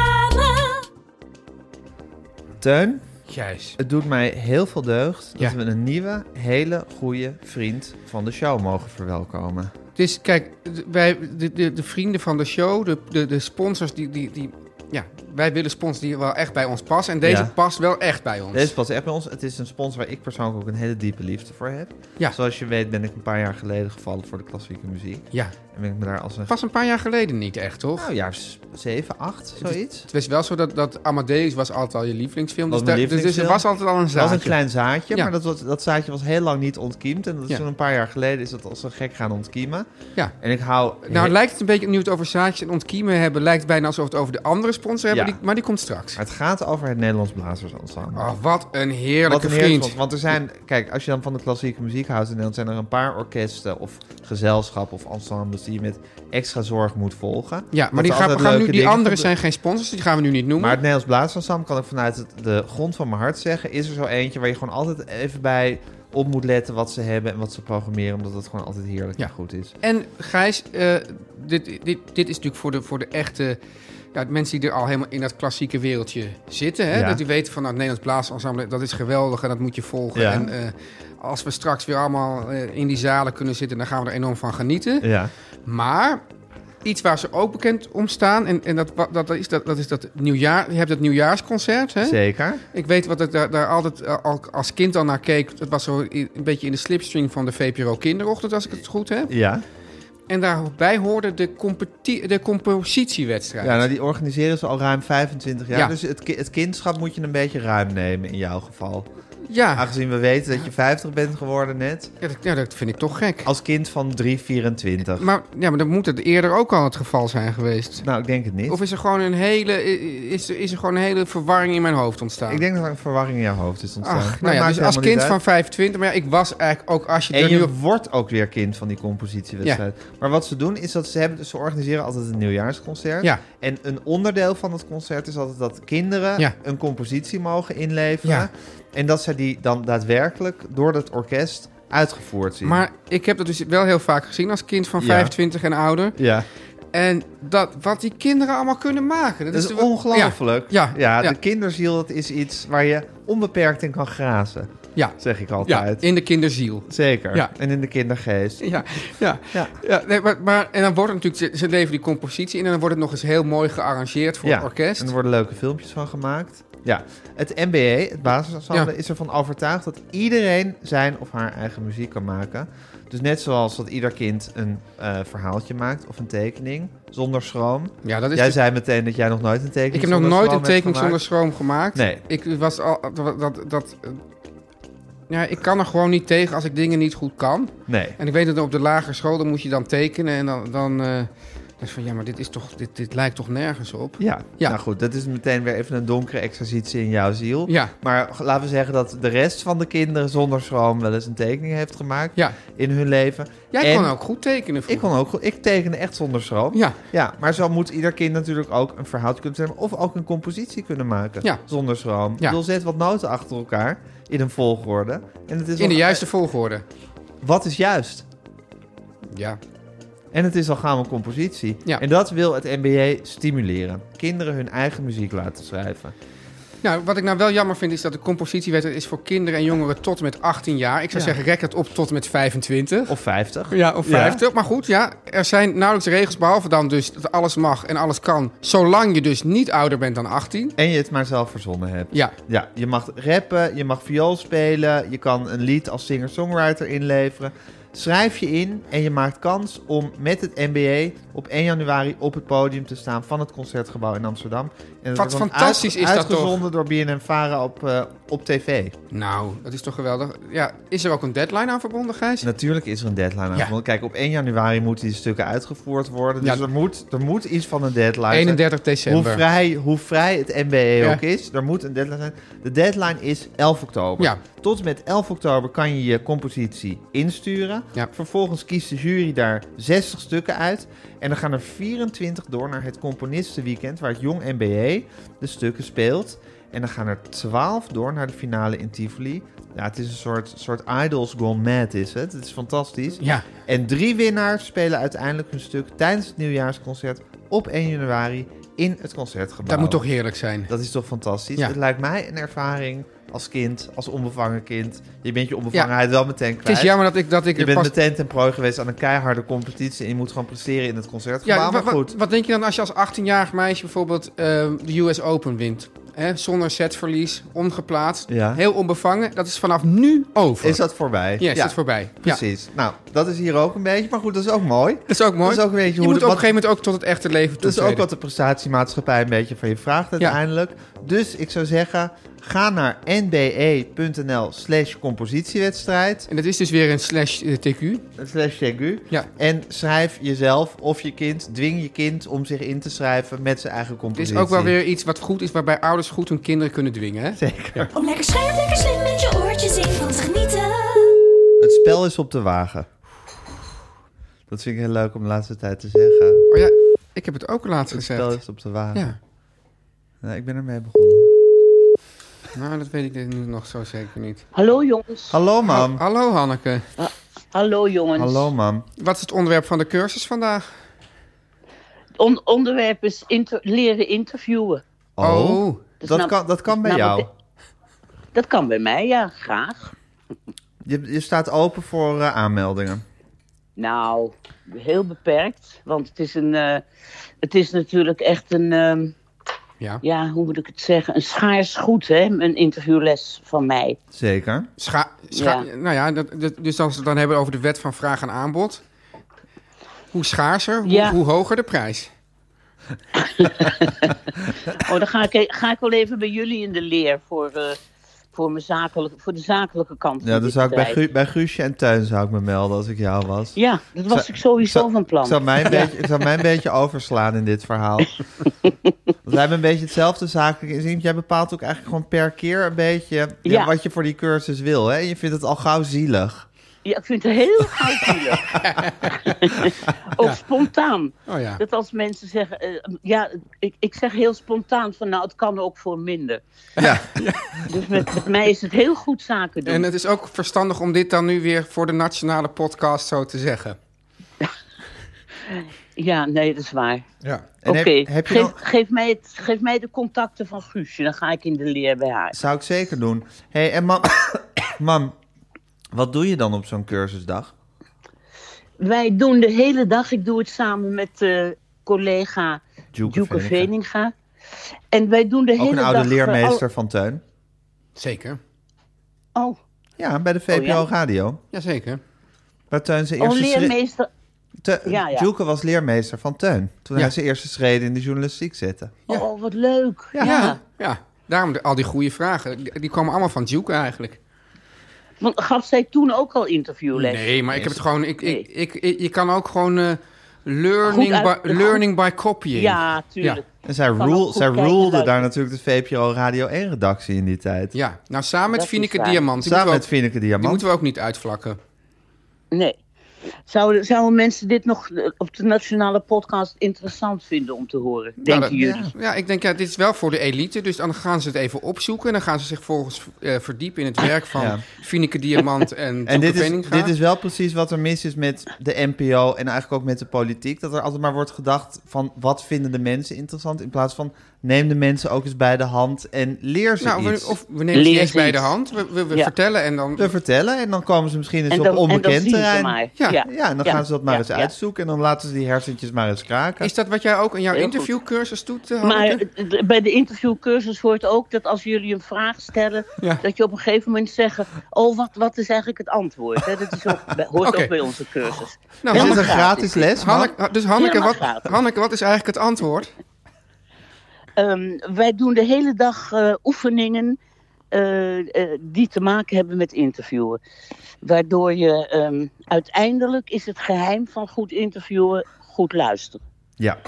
S2: Teun,
S3: Gijs.
S2: het doet mij heel veel deugd
S3: Ja.
S2: dat we een nieuwe, hele goede vriend van de show mogen verwelkomen.
S3: Dus kijk, d- wij, de, de, de vrienden van de show, de, de, de sponsors, die, die, die, ja, wij willen sponsors die wel echt bij ons passen. En deze
S2: Ja.
S3: past wel echt bij ons.
S2: Deze past echt bij ons. Het is een sponsor waar ik persoonlijk ook een hele diepe liefde voor heb.
S3: Ja.
S2: Zoals je weet ben ik een paar jaar geleden gevallen voor de klassieke muziek.
S3: Ja,
S2: En ben ik me daar als een...
S3: pas een paar jaar geleden niet echt, toch?
S2: Nou, jaar 7, 8, zoiets.
S3: Het is wel zo dat, dat Amadeus was altijd al je lievelingsfilm.
S2: Was
S3: Dus,
S2: mijn
S3: daar- dus- dus er was
S2: lievelingsfilm.
S3: altijd al een
S2: Dat was
S3: zaadje.
S2: een klein zaadje,
S3: Ja.
S2: maar dat, was, dat zaadje was heel lang niet ontkiemd. En dat is
S3: Ja.
S2: toen een paar jaar geleden is dat als een gek gaan ontkiemen.
S3: Ja.
S2: En ik hou...
S3: Nou, het
S2: he-
S3: lijkt het een beetje, nu we het over zaadjes en ontkiemen hebben, lijkt het bijna alsof we het over de andere sponsor hebben,
S2: Ja.
S3: die- maar die komt straks.
S2: maar het gaat over het Nederlands Blazers Ensemble.
S3: Oh, wat een heerlijke
S2: Wat een
S3: vriend.
S2: heerlijk, want er zijn, kijk, als je dan van de klassieke muziek houdt in Nederland, zijn er een paar orkesten of gezelschappen of ensembles die je met extra zorg moet volgen.
S3: Ja,
S2: Dat
S3: maar die,
S2: er
S3: gaan, we
S2: altijd
S3: gaan nu,
S2: leuke
S3: die
S2: dingen gebeuren.
S3: anderen zijn geen sponsors, die gaan we nu niet noemen.
S2: Maar het Nederlands Blaasensemble kan ik vanuit het- de grond van mijn hart zeggen, is er zo eentje waar je gewoon altijd even bij op moet letten wat ze hebben en wat ze programmeren, omdat het gewoon altijd heerlijk
S3: Ja.
S2: en goed is.
S3: En Gijs, eh, dit, dit, dit is natuurlijk voor de, voor de echte ja, de mensen die er al helemaal in dat klassieke wereldje zitten. Hè?
S2: Ja.
S3: Dat die weten van nou, het Nederlands Blaasensemble, dat is geweldig en dat moet je volgen.
S2: Ja.
S3: En eh, als we straks weer allemaal eh, in die zalen kunnen zitten, dan gaan we er enorm van genieten.
S2: Ja.
S3: Maar iets waar ze ook bekend om staan, en, en dat, wa- dat, is, dat, dat is dat nieuwjaar, je hebt dat nieuwjaarsconcert. Hè?
S2: Zeker.
S3: Ik weet wat ik daar, daar altijd eh, al, als kind al naar keek. Dat was zo i- een beetje in de slipstream van de VPRO Kinderochtend, als ik het goed heb.
S2: Ja.
S3: En daarbij hoorde de, competi- de compositiewedstrijd.
S2: Ja, nou die organiseren ze al ruim 25 jaar.
S3: Ja.
S2: Dus het, ki- het kindschap moet je een beetje ruim nemen in jouw geval.
S3: ja,
S2: Aangezien we weten dat je 50 bent geworden net.
S3: ja, dat, ja, dat vind ik toch gek.
S2: Als kind van 324.
S3: Maar, ja, maar dan moet het eerder ook al het geval zijn geweest.
S2: Nou, ik denk het niet.
S3: Of is er gewoon een hele, i- i- is er, is er gewoon een hele verwarring in mijn hoofd ontstaan?
S2: Ik denk dat er een verwarring in jouw hoofd is ontstaan.
S3: Ach,
S2: Dat
S3: nou ja,
S2: maakt
S3: dus als
S2: helemaal niet
S3: kind
S2: uit.
S3: van 25, maar ja, ik was eigenlijk ook als je er
S2: En
S3: nu
S2: je
S3: op...
S2: wordt ook weer kind van die compositiewedstrijd. Maar wat ze doen is dat ze hebben, ze organiseren altijd een nieuwjaarsconcert.
S3: Ja.
S2: En een onderdeel van dat concert is altijd dat kinderen
S3: Ja.
S2: een compositie mogen inleveren.
S3: Ja.
S2: En dat ze die dan daadwerkelijk door dat orkest uitgevoerd zien.
S3: Maar ik heb dat dus wel heel vaak gezien als kind van
S2: Ja.
S3: 25 en ouder.
S2: ja.
S3: En dat, wat die kinderen allemaal kunnen maken. Dat,
S2: Dat
S3: toch
S2: is
S3: wel-
S2: ongelooflijk.
S3: Ja, ja, ja.
S2: de kinderziel dat is iets waar je onbeperkt in kan grazen,
S3: Ja,
S2: zeg ik
S3: ja,
S2: altijd.
S3: in de kinderziel.
S2: Zeker.
S3: Ja.
S2: En in de kindergeest.
S3: Ja, ja.
S2: Ja.
S3: ja nee, maar, maar, en dan wordt het natuurlijk, ze- ze leveren die compositie in en dan wordt het nog eens heel mooi gearrangeerd voor het orkest.
S2: En er worden leuke filmpjes van gemaakt. Ja. Het MBA, het basisensemble,
S3: Ja.
S2: is ervan overtuigd dat iedereen zijn of haar eigen muziek kan maken. Dus net zoals dat ieder kind een eh, verhaaltje maakt of een tekening zonder schroom.
S3: Ja, dat is
S2: jij
S3: de-
S2: zei meteen dat jij nog nooit een tekening
S3: Dus ik heb nog
S2: zonder
S3: nooit
S2: schroom
S3: een
S2: hebt
S3: tekening zonder
S2: gemaakt.
S3: schroom gemaakt.
S2: Nee.
S3: Ik was al, dat, dat, dat- ja, ik kan er gewoon niet tegen als ik dingen niet goed kan.
S2: Nee.
S3: En ik weet dat op de lagere school, dan moet je dan tekenen. En dan, dan eh, dan is van, ja, maar dit, is toch, dit, dit lijkt toch nergens op?
S2: Ja.
S3: Ja.
S2: nou goed, dat is meteen weer even een donkere exercitie in jouw ziel.
S3: Ja,
S2: Maar laten we zeggen dat de rest van de kinderen zonder schroom wel eens een tekening heeft gemaakt
S3: ja.
S2: in hun leven.
S3: Jij
S2: En
S3: kon ook goed tekenen
S2: Ik
S3: vroeger.
S2: kon ook, goed- ik tekende echt zonder schroom.
S3: Ja,
S2: Ja, maar zo moet ieder kind natuurlijk ook een verhaaltje kunnen hebben of ook een compositie kunnen maken
S3: Ja.
S2: zonder schroom.
S3: Ja.
S2: Ik bedoel, zet wat noten achter elkaar in een volgorde. En het is
S3: in de
S2: al-
S3: juiste volgorde.
S2: Wat is juist?
S3: Ja.
S2: En het is al gaan we compositie.
S3: Ja.
S2: En dat wil het MBA stimuleren. Kinderen hun eigen muziek laten schrijven.
S3: Nou, wat ik nou wel jammer vind, is dat de compositiewedstrijd is voor kinderen en jongeren tot en met 18 jaar. Ik zou zeggen, rek het op tot en met 25.
S2: Of 50.
S3: Ja, of
S2: Ja.
S3: 50. Maar goed, ja, er zijn nauwelijks regels, behalve dan dus dat alles mag en alles kan. Zolang je dus niet ouder bent dan 18.
S2: En je het maar zelf verzonnen hebt.
S3: Ja.
S2: Ja, je mag rappen, je mag viool spelen, je kan een lied als singer-songwriter inleveren. Schrijf je in en je maakt kans om met het NBA op 1 januari op het podium te staan van het Concertgebouw in Amsterdam. En dat
S3: Wat
S2: wordt
S3: fantastisch is dat toch?
S2: Uitgezonden door BNM Vara op, eh, op tv.
S3: Nou, dat is toch geweldig. Ja, is er ook een deadline aan verbonden, Gijs?
S2: Natuurlijk is er een deadline aan.
S3: Ja.
S2: Want kijk, op 1 januari moeten die stukken uitgevoerd worden. Dus
S3: Ja.
S2: er, moet, er moet iets van een deadline zijn.
S3: 31
S2: Hoe
S3: december.
S2: vrij, hoe vrij het NBA
S3: Ja.
S2: ook is, er moet een deadline zijn. De deadline is 11 oktober.
S3: Ja.
S2: Tot en met 11 oktober kan je je compositie insturen.
S3: Ja.
S2: Vervolgens kiest de jury daar 60 stukken uit. En dan gaan er 24 door naar het componistenweekend, waar het Jong NBA de stukken speelt. En dan gaan er 12 door naar de finale in Tivoli. Ja, het is een soort, soort Idols Gone Mad is het. Het is fantastisch.
S3: Ja.
S2: En drie winnaars spelen uiteindelijk hun stuk tijdens het nieuwjaarsconcert op 1 januari in het concertgebouw.
S3: Dat moet toch heerlijk zijn.
S2: Nou. Dat is toch fantastisch?
S3: Ja.
S2: Het lijkt mij een ervaring als kind, als onbevangen kind. Je bent je onbevangenheid wel meteen kwijt.
S3: Het is jammer dat ik, dat ik
S2: Je
S3: er
S2: bent
S3: pas...
S2: meteen ten prooi geweest aan een keiharde competitie en je moet gewoon presteren in het
S3: Ja,
S2: concertgebouw.
S3: wa-
S2: maar
S3: wa-
S2: goed,
S3: Wat denk je dan als je als 18-jarig meisje bijvoorbeeld eh, de US Open wint? Hè? Zonder setverlies, ongeplaatst,
S2: Ja.
S3: heel onbevangen. Dat is vanaf nu over.
S2: is dat voorbij?
S3: Ja, is dat voorbij. Ja.
S2: Precies. Nou, dat is hier ook een beetje, maar goed, dat is ook mooi.
S3: Dat is ook mooi.
S2: Dat is ook een beetje
S3: je
S2: hoe
S3: moet
S2: de-
S3: op een
S2: wat-
S3: gegeven moment ook tot het echte leven toe.
S2: Dat is ook wat de prestatiemaatschappij een beetje van je vraagt uiteindelijk. Dus ik zou zeggen, ga naar nbe.nl slash compositiewedstrijd,
S3: En dat is dus weer een slash eh, TQ.
S2: slash Jegu.
S3: Ja.
S2: En schrijf jezelf of je kind, dwing je kind om zich in te schrijven met zijn eigen
S3: Het is
S2: compositie.
S3: ook wel weer iets wat goed is, waarbij ouders goed hun kinderen kunnen dwingen. Hè?
S2: Zeker.
S5: Om lekker scherp, lekker slim met je oortjes in van te genieten.
S2: Het spel is op de wagen. Dat vind ik heel leuk om de laatste tijd te zeggen.
S3: Maar Oh ja, ik heb het ook laatst
S2: Het spel
S3: gezegd.
S2: is op de wagen.
S3: Ja,
S2: Nou, ik ben ermee begonnen.
S3: nou dat weet ik nu nog zo zeker niet.
S6: Hallo jongens.
S2: Hallo mam.
S3: Hallo Hanneke.
S6: Hallo jongens.
S2: Hallo mam.
S3: Wat is het onderwerp van de cursus vandaag?
S6: On- onderwerp is inter- leren interviewen.
S2: Oh.
S3: Oh.
S6: is
S2: Dat
S6: nam-
S2: kan, dat kan bij
S6: nam-
S2: jou.
S6: Dat kan bij mij, ja, graag.
S2: Je, je staat open voor eh, aanmeldingen.
S6: Nou, heel beperkt, want het is, een, eh, het is natuurlijk echt een, ehm,
S3: Ja.
S6: ja, hoe moet ik het zeggen, een schaars goed, hè, een interviewles van mij.
S2: Zeker.
S3: Scha scha
S6: Ja.
S3: Nou ja, dat, dat- dus als we het dan hebben over de wet van vraag en aanbod. Hoe schaarser, hoe,
S6: Ja.
S3: hoe hoger de prijs.
S6: Oh, dan ga ik, ga ik wel even bij jullie in de leer voor, eh, voor, mijn zakelijke, voor de zakelijke kant. van
S2: Ja, dan
S6: dit
S2: zou ik bij,
S6: bedrijf.
S2: Gu- bij Guusje en Tuin zou ik me melden als ik jou was.
S6: Ja, dat was
S2: Zou-
S6: ik sowieso
S2: zou-
S6: van plan.
S2: Ik zou, mij een beetje, ik zou mij een beetje overslaan in dit verhaal. We hebben een beetje hetzelfde zakelijk inzien. Jij bepaalt ook eigenlijk gewoon per keer een beetje ja,
S6: Ja.
S2: wat je voor die cursus wil. Hè? En je vindt het al gauw zielig.
S6: Ja, ik vind het heel gauwzielig. Ook spontaan.
S3: Oh ja.
S6: Dat als mensen zeggen, eh, ja, ik, ik zeg heel spontaan van nou, het kan ook voor minder.
S2: Ja,
S6: Dus met, met mij is het heel goed zaken doen.
S3: En het is ook verstandig om dit dan nu weer voor de nationale podcast zo te zeggen.
S6: Ja, nee, dat is waar.
S3: Ja.
S2: En
S6: Oké,
S2: heb- heb je
S6: geef,
S2: nog-
S6: geef, mij het- geef mij de contacten van Guusje, dan ga ik in de leer bij haar.
S2: zou ik zeker doen. hey, en mam, mam, wat doe je dan op zo'n cursusdag?
S6: Wij doen de hele dag, ik doe het samen met eh, collega
S2: Djoeke
S6: Joeke
S2: Veninga.
S6: Veninga. En wij doen de
S2: Ook
S6: hele
S2: een
S6: dag...
S2: oude
S6: eh,
S2: leermeester van Teun.
S3: Zeker.
S6: al- oh,
S2: Ja, bij de VPO
S6: ja.
S2: Radio.
S3: Jazeker.
S2: Waar Teun zijn
S6: oh,
S2: eerste schri-
S6: leermeester...
S2: Te,
S6: Ja, ja.
S2: Djoeke was leermeester van Teun. Toen
S3: Ja.
S2: hij zijn eerste schreden in de journalistiek zette.
S3: Ja.
S6: Oh, wat leuk. Ja.
S3: Ja. Daarom de- al die goede vragen. Die die komen allemaal van Duke eigenlijk.
S6: Want gaf zij toen ook al interviewles?
S3: Nee, maar ik heb het gewoon. Ik, ik,
S6: Nee.
S3: ik, ik- je kan ook gewoon eh, learning,
S6: Goed uit-
S3: by, learning by copying.
S6: Ja, tuurlijk.
S2: En zij,
S6: Kan ook
S2: rule,
S6: goed
S2: zij
S6: kijken,
S2: rulede
S6: luisteren.
S2: daar natuurlijk de VPRO Radio 1-redactie in die tijd.
S3: Ja. dus Nou, samen met
S6: Dat is
S3: Fineke
S6: waar.
S3: Diamant. Die,
S2: Samen met
S3: moeten we ook,
S2: Fineke
S3: die
S2: Diamant.
S3: moeten we ook niet uitvlakken.
S6: Nee. Zouden, zouden mensen dit nog eh, op de nationale podcast interessant vinden om te horen? Denken
S3: Nou, dat-
S6: jullie?
S3: Ja, ja, ik denk, ja, dit is wel voor de elite. Dus dan gaan ze het even opzoeken. En dan gaan ze zich volgens eh, verdiepen in het werk van
S2: Ja.
S3: Fineke Diamant en
S2: En
S3: Joeke
S2: dit is,
S3: Veninga.
S2: dit is wel precies wat er mis is met de NPO en eigenlijk ook met de politiek. Dat er altijd maar wordt gedacht van wat vinden de mensen interessant in plaats van neem de mensen ook eens bij de hand en leer ze
S3: Nou,
S2: iets
S3: we, of we nemen ze
S6: Leer
S3: niet eens
S6: ze
S3: bij de
S6: iets.
S3: hand. We, we, we
S6: Ja.
S3: vertellen en dan...
S2: te vertellen. En dan komen ze misschien eens
S6: En
S2: op
S6: dan, en dan
S2: onbekend
S6: zien ze
S2: terrein.
S6: mij.
S3: Ja,
S2: Ja, en dan gaan ze dat maar
S6: ja,
S2: eens
S6: ja.
S2: uitzoeken. En dan laten ze die hersentjes maar eens kraken.
S3: Is dat wat jij ook in jouw
S6: Heel goed.
S3: interviewcursus doet, eh,
S6: Maar
S3: Hanneke?
S6: eh, d- bij de interviewcursus hoort ook dat als jullie een vraag stellen,
S3: Ja.
S6: dat je op een gegeven moment zegt: Oh, wat, wat is eigenlijk het antwoord? Hè, dat is ook, bij- hoort
S3: Oké.
S6: ook bij onze cursus.
S3: Nou,
S2: is
S6: helemaal
S2: het een
S6: gratis.
S2: gratis les? man?
S3: Hanneke, dus Hanneke
S6: Helemaal
S3: wat,
S6: gratis.
S3: Hanneke, wat is eigenlijk het antwoord?
S6: Ehm, wij doen de hele dag eh, oefeningen eh, eh, die te maken hebben met interviewen. Waardoor je ehm, uiteindelijk is het geheim van goed interviewen goed luisteren.
S2: Ja.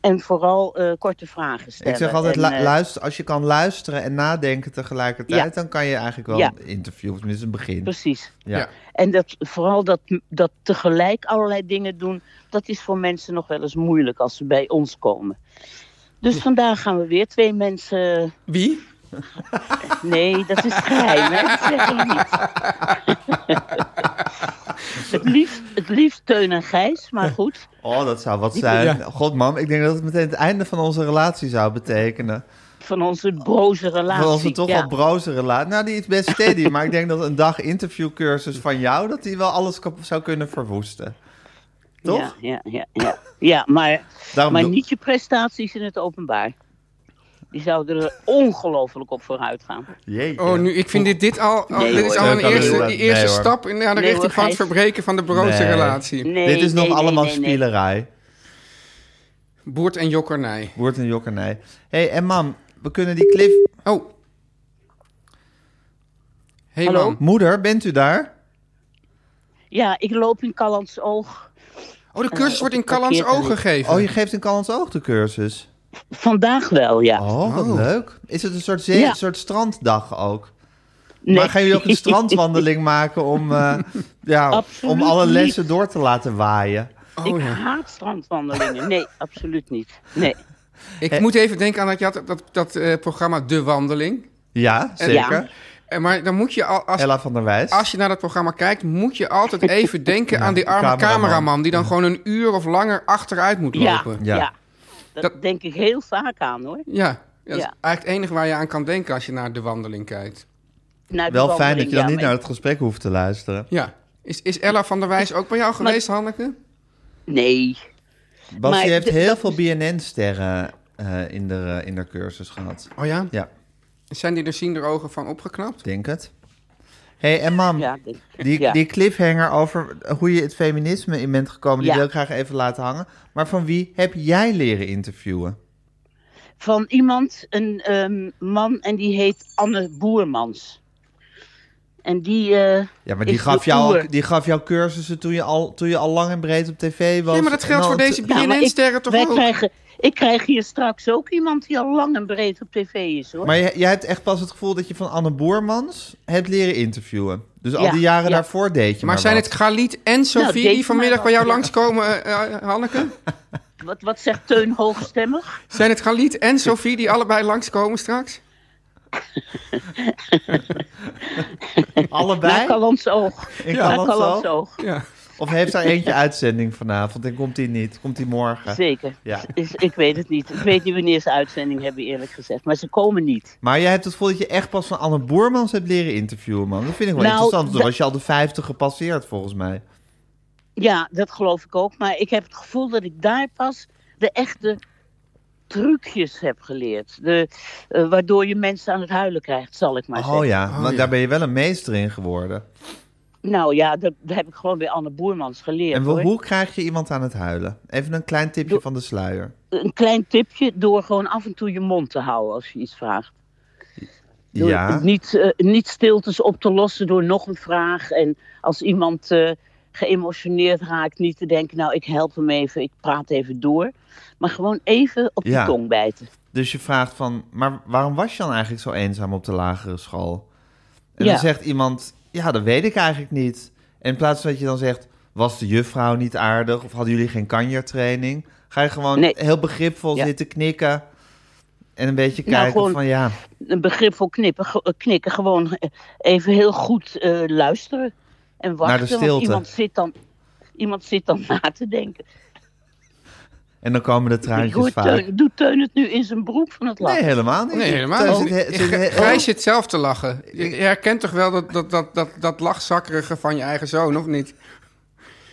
S6: En vooral eh, korte vragen stellen.
S2: Ik zeg altijd,
S6: En,
S2: lu-
S6: eh,
S2: luister, als je kan luisteren en nadenken tegelijkertijd,
S6: Ja.
S2: dan kan je eigenlijk wel
S6: Ja.
S2: een interview, of tenminste een begin.
S6: Precies.
S2: Ja.
S3: Ja.
S6: En dat, vooral dat, dat tegelijk allerlei dingen doen, dat is voor mensen nog wel eens moeilijk als ze bij ons komen. Dus vandaag gaan we weer twee mensen.
S3: Wie?
S6: Nee, dat is geheim, hè? dat zeggen we niet. het, liefst, het liefst Teun en Gijs, maar goed.
S2: Oh, dat zou wat zijn. God, mam, ik denk dat het meteen het einde van onze relatie zou betekenen.
S6: Van onze broze relatie.
S2: Van onze toch
S6: ja.
S2: wel broze relatie. Nou, die is best steady, maar ik denk dat een dag interviewcursus van jou, dat die wel alles kap- zou kunnen verwoesten. Toch?
S6: Ja, ja, ja, ja. ja maar,
S2: Daarom
S6: maar
S2: doe-
S6: niet je prestaties in het openbaar. Die zouden er ongelooflijk op vooruit gaan.
S2: Jeetje.
S3: Oh, nu, ik vind dit, dit al, oh,
S6: Nee,
S3: dit is
S6: hoor.
S3: al
S2: Dat
S3: een
S2: kan
S3: eerste,
S2: niet.
S3: die eerste
S2: Nee, hoor.
S3: stap in ja, de
S6: Nee,
S3: richting
S6: hoor,
S3: van het
S6: Gijs.
S3: verbreken van de broodse
S2: Nee.
S3: relatie.
S6: Nee,
S2: Dit is nog
S6: nee, nee,
S2: allemaal
S6: nee, nee.
S2: spielerij.
S3: Boert en jokkernij.
S2: Woord en jokkernij. Hé, hey, en mam, we kunnen die cliff...
S3: Oh. Hey
S6: Hallo?
S3: man.
S2: Moeder, bent u daar?
S6: Ja, ik loop in Callans Oog.
S3: Oh, de cursus
S6: Eh,
S3: wordt in
S6: op de
S3: Callans oog
S6: parkeerterrein.
S3: gegeven.
S2: Oh, je geeft een kans oog de cursus.
S6: Vandaag wel, ja.
S2: Oh, wat leuk. Is het een soort, zee,
S6: Ja.
S2: een soort stranddag ook?
S6: Nee.
S2: Maar gaan jullie ook een strandwandeling maken om, eh, ja,
S6: Absoluut
S2: om alle
S6: niet.
S2: lessen door te laten waaien?
S3: Oh,
S6: ik
S3: ja.
S6: haat strandwandelingen. Nee, absoluut niet. Nee.
S3: Ik moet even denken aan dat, je had dat, dat eh, programma De Wandeling.
S2: Ja, zeker.
S6: Ja.
S3: Eh, Maar dan moet je, al, als,
S2: Ella van der Wijs.
S3: als je naar dat programma kijkt, moet je altijd even denken aan die arme cameraman.
S2: cameraman.
S3: die dan gewoon een uur of langer achteruit moet
S6: Ja,
S3: lopen.
S2: Ja.
S6: ja.
S3: Dat-
S6: Dat denk ik heel vaak aan, hoor.
S3: Ja, dat is
S6: Ja.
S3: eigenlijk het enige waar je aan kan denken als je naar de wandeling kijkt.
S6: Naar de
S2: Wel fijn dat
S6: wandeling,
S2: je dan
S6: ja,
S2: niet
S6: maar-
S2: naar het gesprek hoeft te luisteren.
S3: Ja. Is, is Ella van der Wijs ook bij jou
S6: Maar-
S3: geweest, Hanneke?
S6: Nee.
S2: Bas,
S6: Maar
S2: je heeft
S6: d-
S2: heel
S6: dat
S2: veel BNN-sterren eh, in, de, eh, in de cursus gehad.
S3: Oh ja?
S2: Ja,
S3: Zijn die er ziender ogen van opgeknapt?
S2: denk het. hey, en mam,
S6: Ja, denk-
S2: die,
S6: ja.
S2: die cliffhanger over hoe je het feminisme in bent gekomen... die
S6: Ja.
S2: wil ik graag even laten hangen. Maar van wie heb jij leren interviewen?
S6: Van iemand, een ehm, man, en die heet Anne Boermans. En die... eh,
S2: Ja, maar die
S6: is
S2: gaf,
S6: de
S2: jou,
S6: oer.
S2: al- die gaf jou cursussen toen je, al, toen je al lang en breed op tv was.
S3: Ja, maar dat geldt
S2: En
S3: voor
S2: al-
S3: deze
S6: Nou, maar ik-
S3: BNN-sterren toch
S6: wij
S3: ook?
S6: Krijgen, ik krijg hier straks ook iemand die al lang en breed op tv is, hoor.
S2: Maar jij, jij hebt echt pas het gevoel dat je van Anne Boermans hebt leren interviewen. Dus al
S6: Ja,
S2: die jaren
S6: ja.
S2: daarvoor deed je maar
S3: Maar zijn
S2: wat.
S3: het Galit en Sofie
S6: Nou,
S3: die
S6: deze
S3: vanmiddag
S6: maar
S3: bij jou
S6: wel.
S3: langskomen, eh, eh, Hanneke?
S6: Wat, wat zegt Teun hoogstemmig?
S3: Zijn het Galit en Sofie die allebei langskomen straks?
S6: Naar
S2: allebei?
S6: Callans Oog.
S2: In
S6: Naar
S2: Callans
S6: Callans
S2: Oog?
S6: Oog.
S3: Ja.
S2: Of heeft daar eentje uitzending vanavond en komt die niet? Komt die morgen?
S6: Zeker.
S2: Ja.
S6: Is, ik weet het niet. Ik weet niet wanneer ze uitzending hebben, eerlijk gezegd. Maar ze komen niet.
S2: Maar jij hebt het gevoel dat je echt pas van Anne Boermans hebt leren interviewen, man. Dat vind ik wel
S6: Nou,
S2: interessant. Toen
S6: dat-
S2: was je al de 50 gepasseerd, volgens mij.
S6: Ja, dat geloof ik ook. Maar ik heb het gevoel dat ik daar pas de echte trucjes heb geleerd. De, eh, waardoor je mensen aan het huilen krijgt, zal ik maar zeggen.
S2: Oh ja,
S3: Oh
S2: want
S3: ja.
S2: daar ben je wel een meester in geworden.
S6: Nou ja, dat, dat heb ik gewoon bij Anne Boermans geleerd.
S2: En
S6: hoor.
S2: hoe krijg je iemand aan het huilen? Even een klein tipje
S6: Doe-
S2: van de sluier.
S6: Een klein tipje door gewoon af en toe je mond te houden als je iets vraagt. Door
S2: Ja.
S6: niet, eh, niet stiltes op te lossen door nog een vraag. En als iemand eh, geëmotioneerd raakt, niet te denken, nou ik help hem even, ik praat even door. Maar gewoon even op
S2: Ja.
S6: de tong bijten.
S2: Dus je vraagt van, maar waarom was je dan eigenlijk zo eenzaam op de lagere school? En
S6: Ja.
S2: dan zegt iemand, ja, dat weet ik eigenlijk niet. En in plaats van dat je dan zegt, was de juffrouw niet aardig? Of hadden jullie geen kanjertraining? Ga je gewoon
S6: Nee.
S2: heel begripvol
S6: Ja.
S2: zitten knikken. En een beetje
S6: Nou,
S2: kijken
S6: gewoon-
S2: van, ja,
S6: Een begrip voor knippen, ge- eh, knikken, gewoon eh, even heel goed eh, luisteren en wachten.
S2: Naar de stilte.
S6: Want iemand zit, dan, iemand zit dan na te denken.
S2: En dan komen de traantjes
S6: Doet
S2: vaak.
S6: Teun, doet Teun het nu in zijn broek van het lachen?
S2: Nee, helemaal niet.
S3: Nee, helemaal
S2: Teun
S3: niet.
S2: zit- zit-
S3: Gij-
S2: zit-
S3: Gij zit zelf te lachen. Je je herkent toch wel dat, dat, dat, dat, dat lachzakkerige van je eigen zoon, of niet?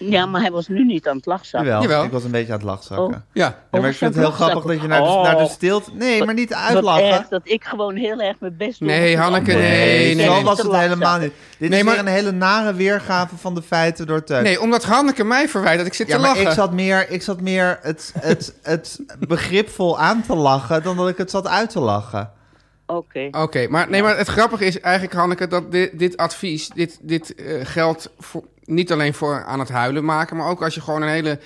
S6: Ja, maar hij was nu niet aan het lachen.
S2: Jawel,
S3: Jawel.
S2: ik was een beetje aan het lachzakken.
S6: Oh.
S3: Ja.
S2: Nee, maar ik vind het heel grappig dat je naar de, naar de stilte... Nee, maar niet
S6: Wat erg
S2: uitlachen.
S6: dat ik gewoon heel erg mijn best doe.
S3: Nee, Hanneke, nee, nee, nee.
S2: zo
S3: nee.
S2: was het helemaal niet. Dit
S3: Nee,
S2: is
S3: maar-
S2: weer een hele nare weergave van de feiten door Teun.
S3: Nee, omdat Hanneke mij verwijt dat ik zit
S2: ja,
S3: te
S2: maar
S3: lachen.
S2: ik zat meer, ik zat meer het, het, het begripvol aan te lachen dan dat ik het zat uit te lachen.
S6: Oké.
S3: Oké, maar, nee, maar het grappige is eigenlijk, Hanneke, dat dit, dit advies, dit, dit eh, geldt voor, niet alleen voor aan het huilen maken, maar ook als je gewoon een hele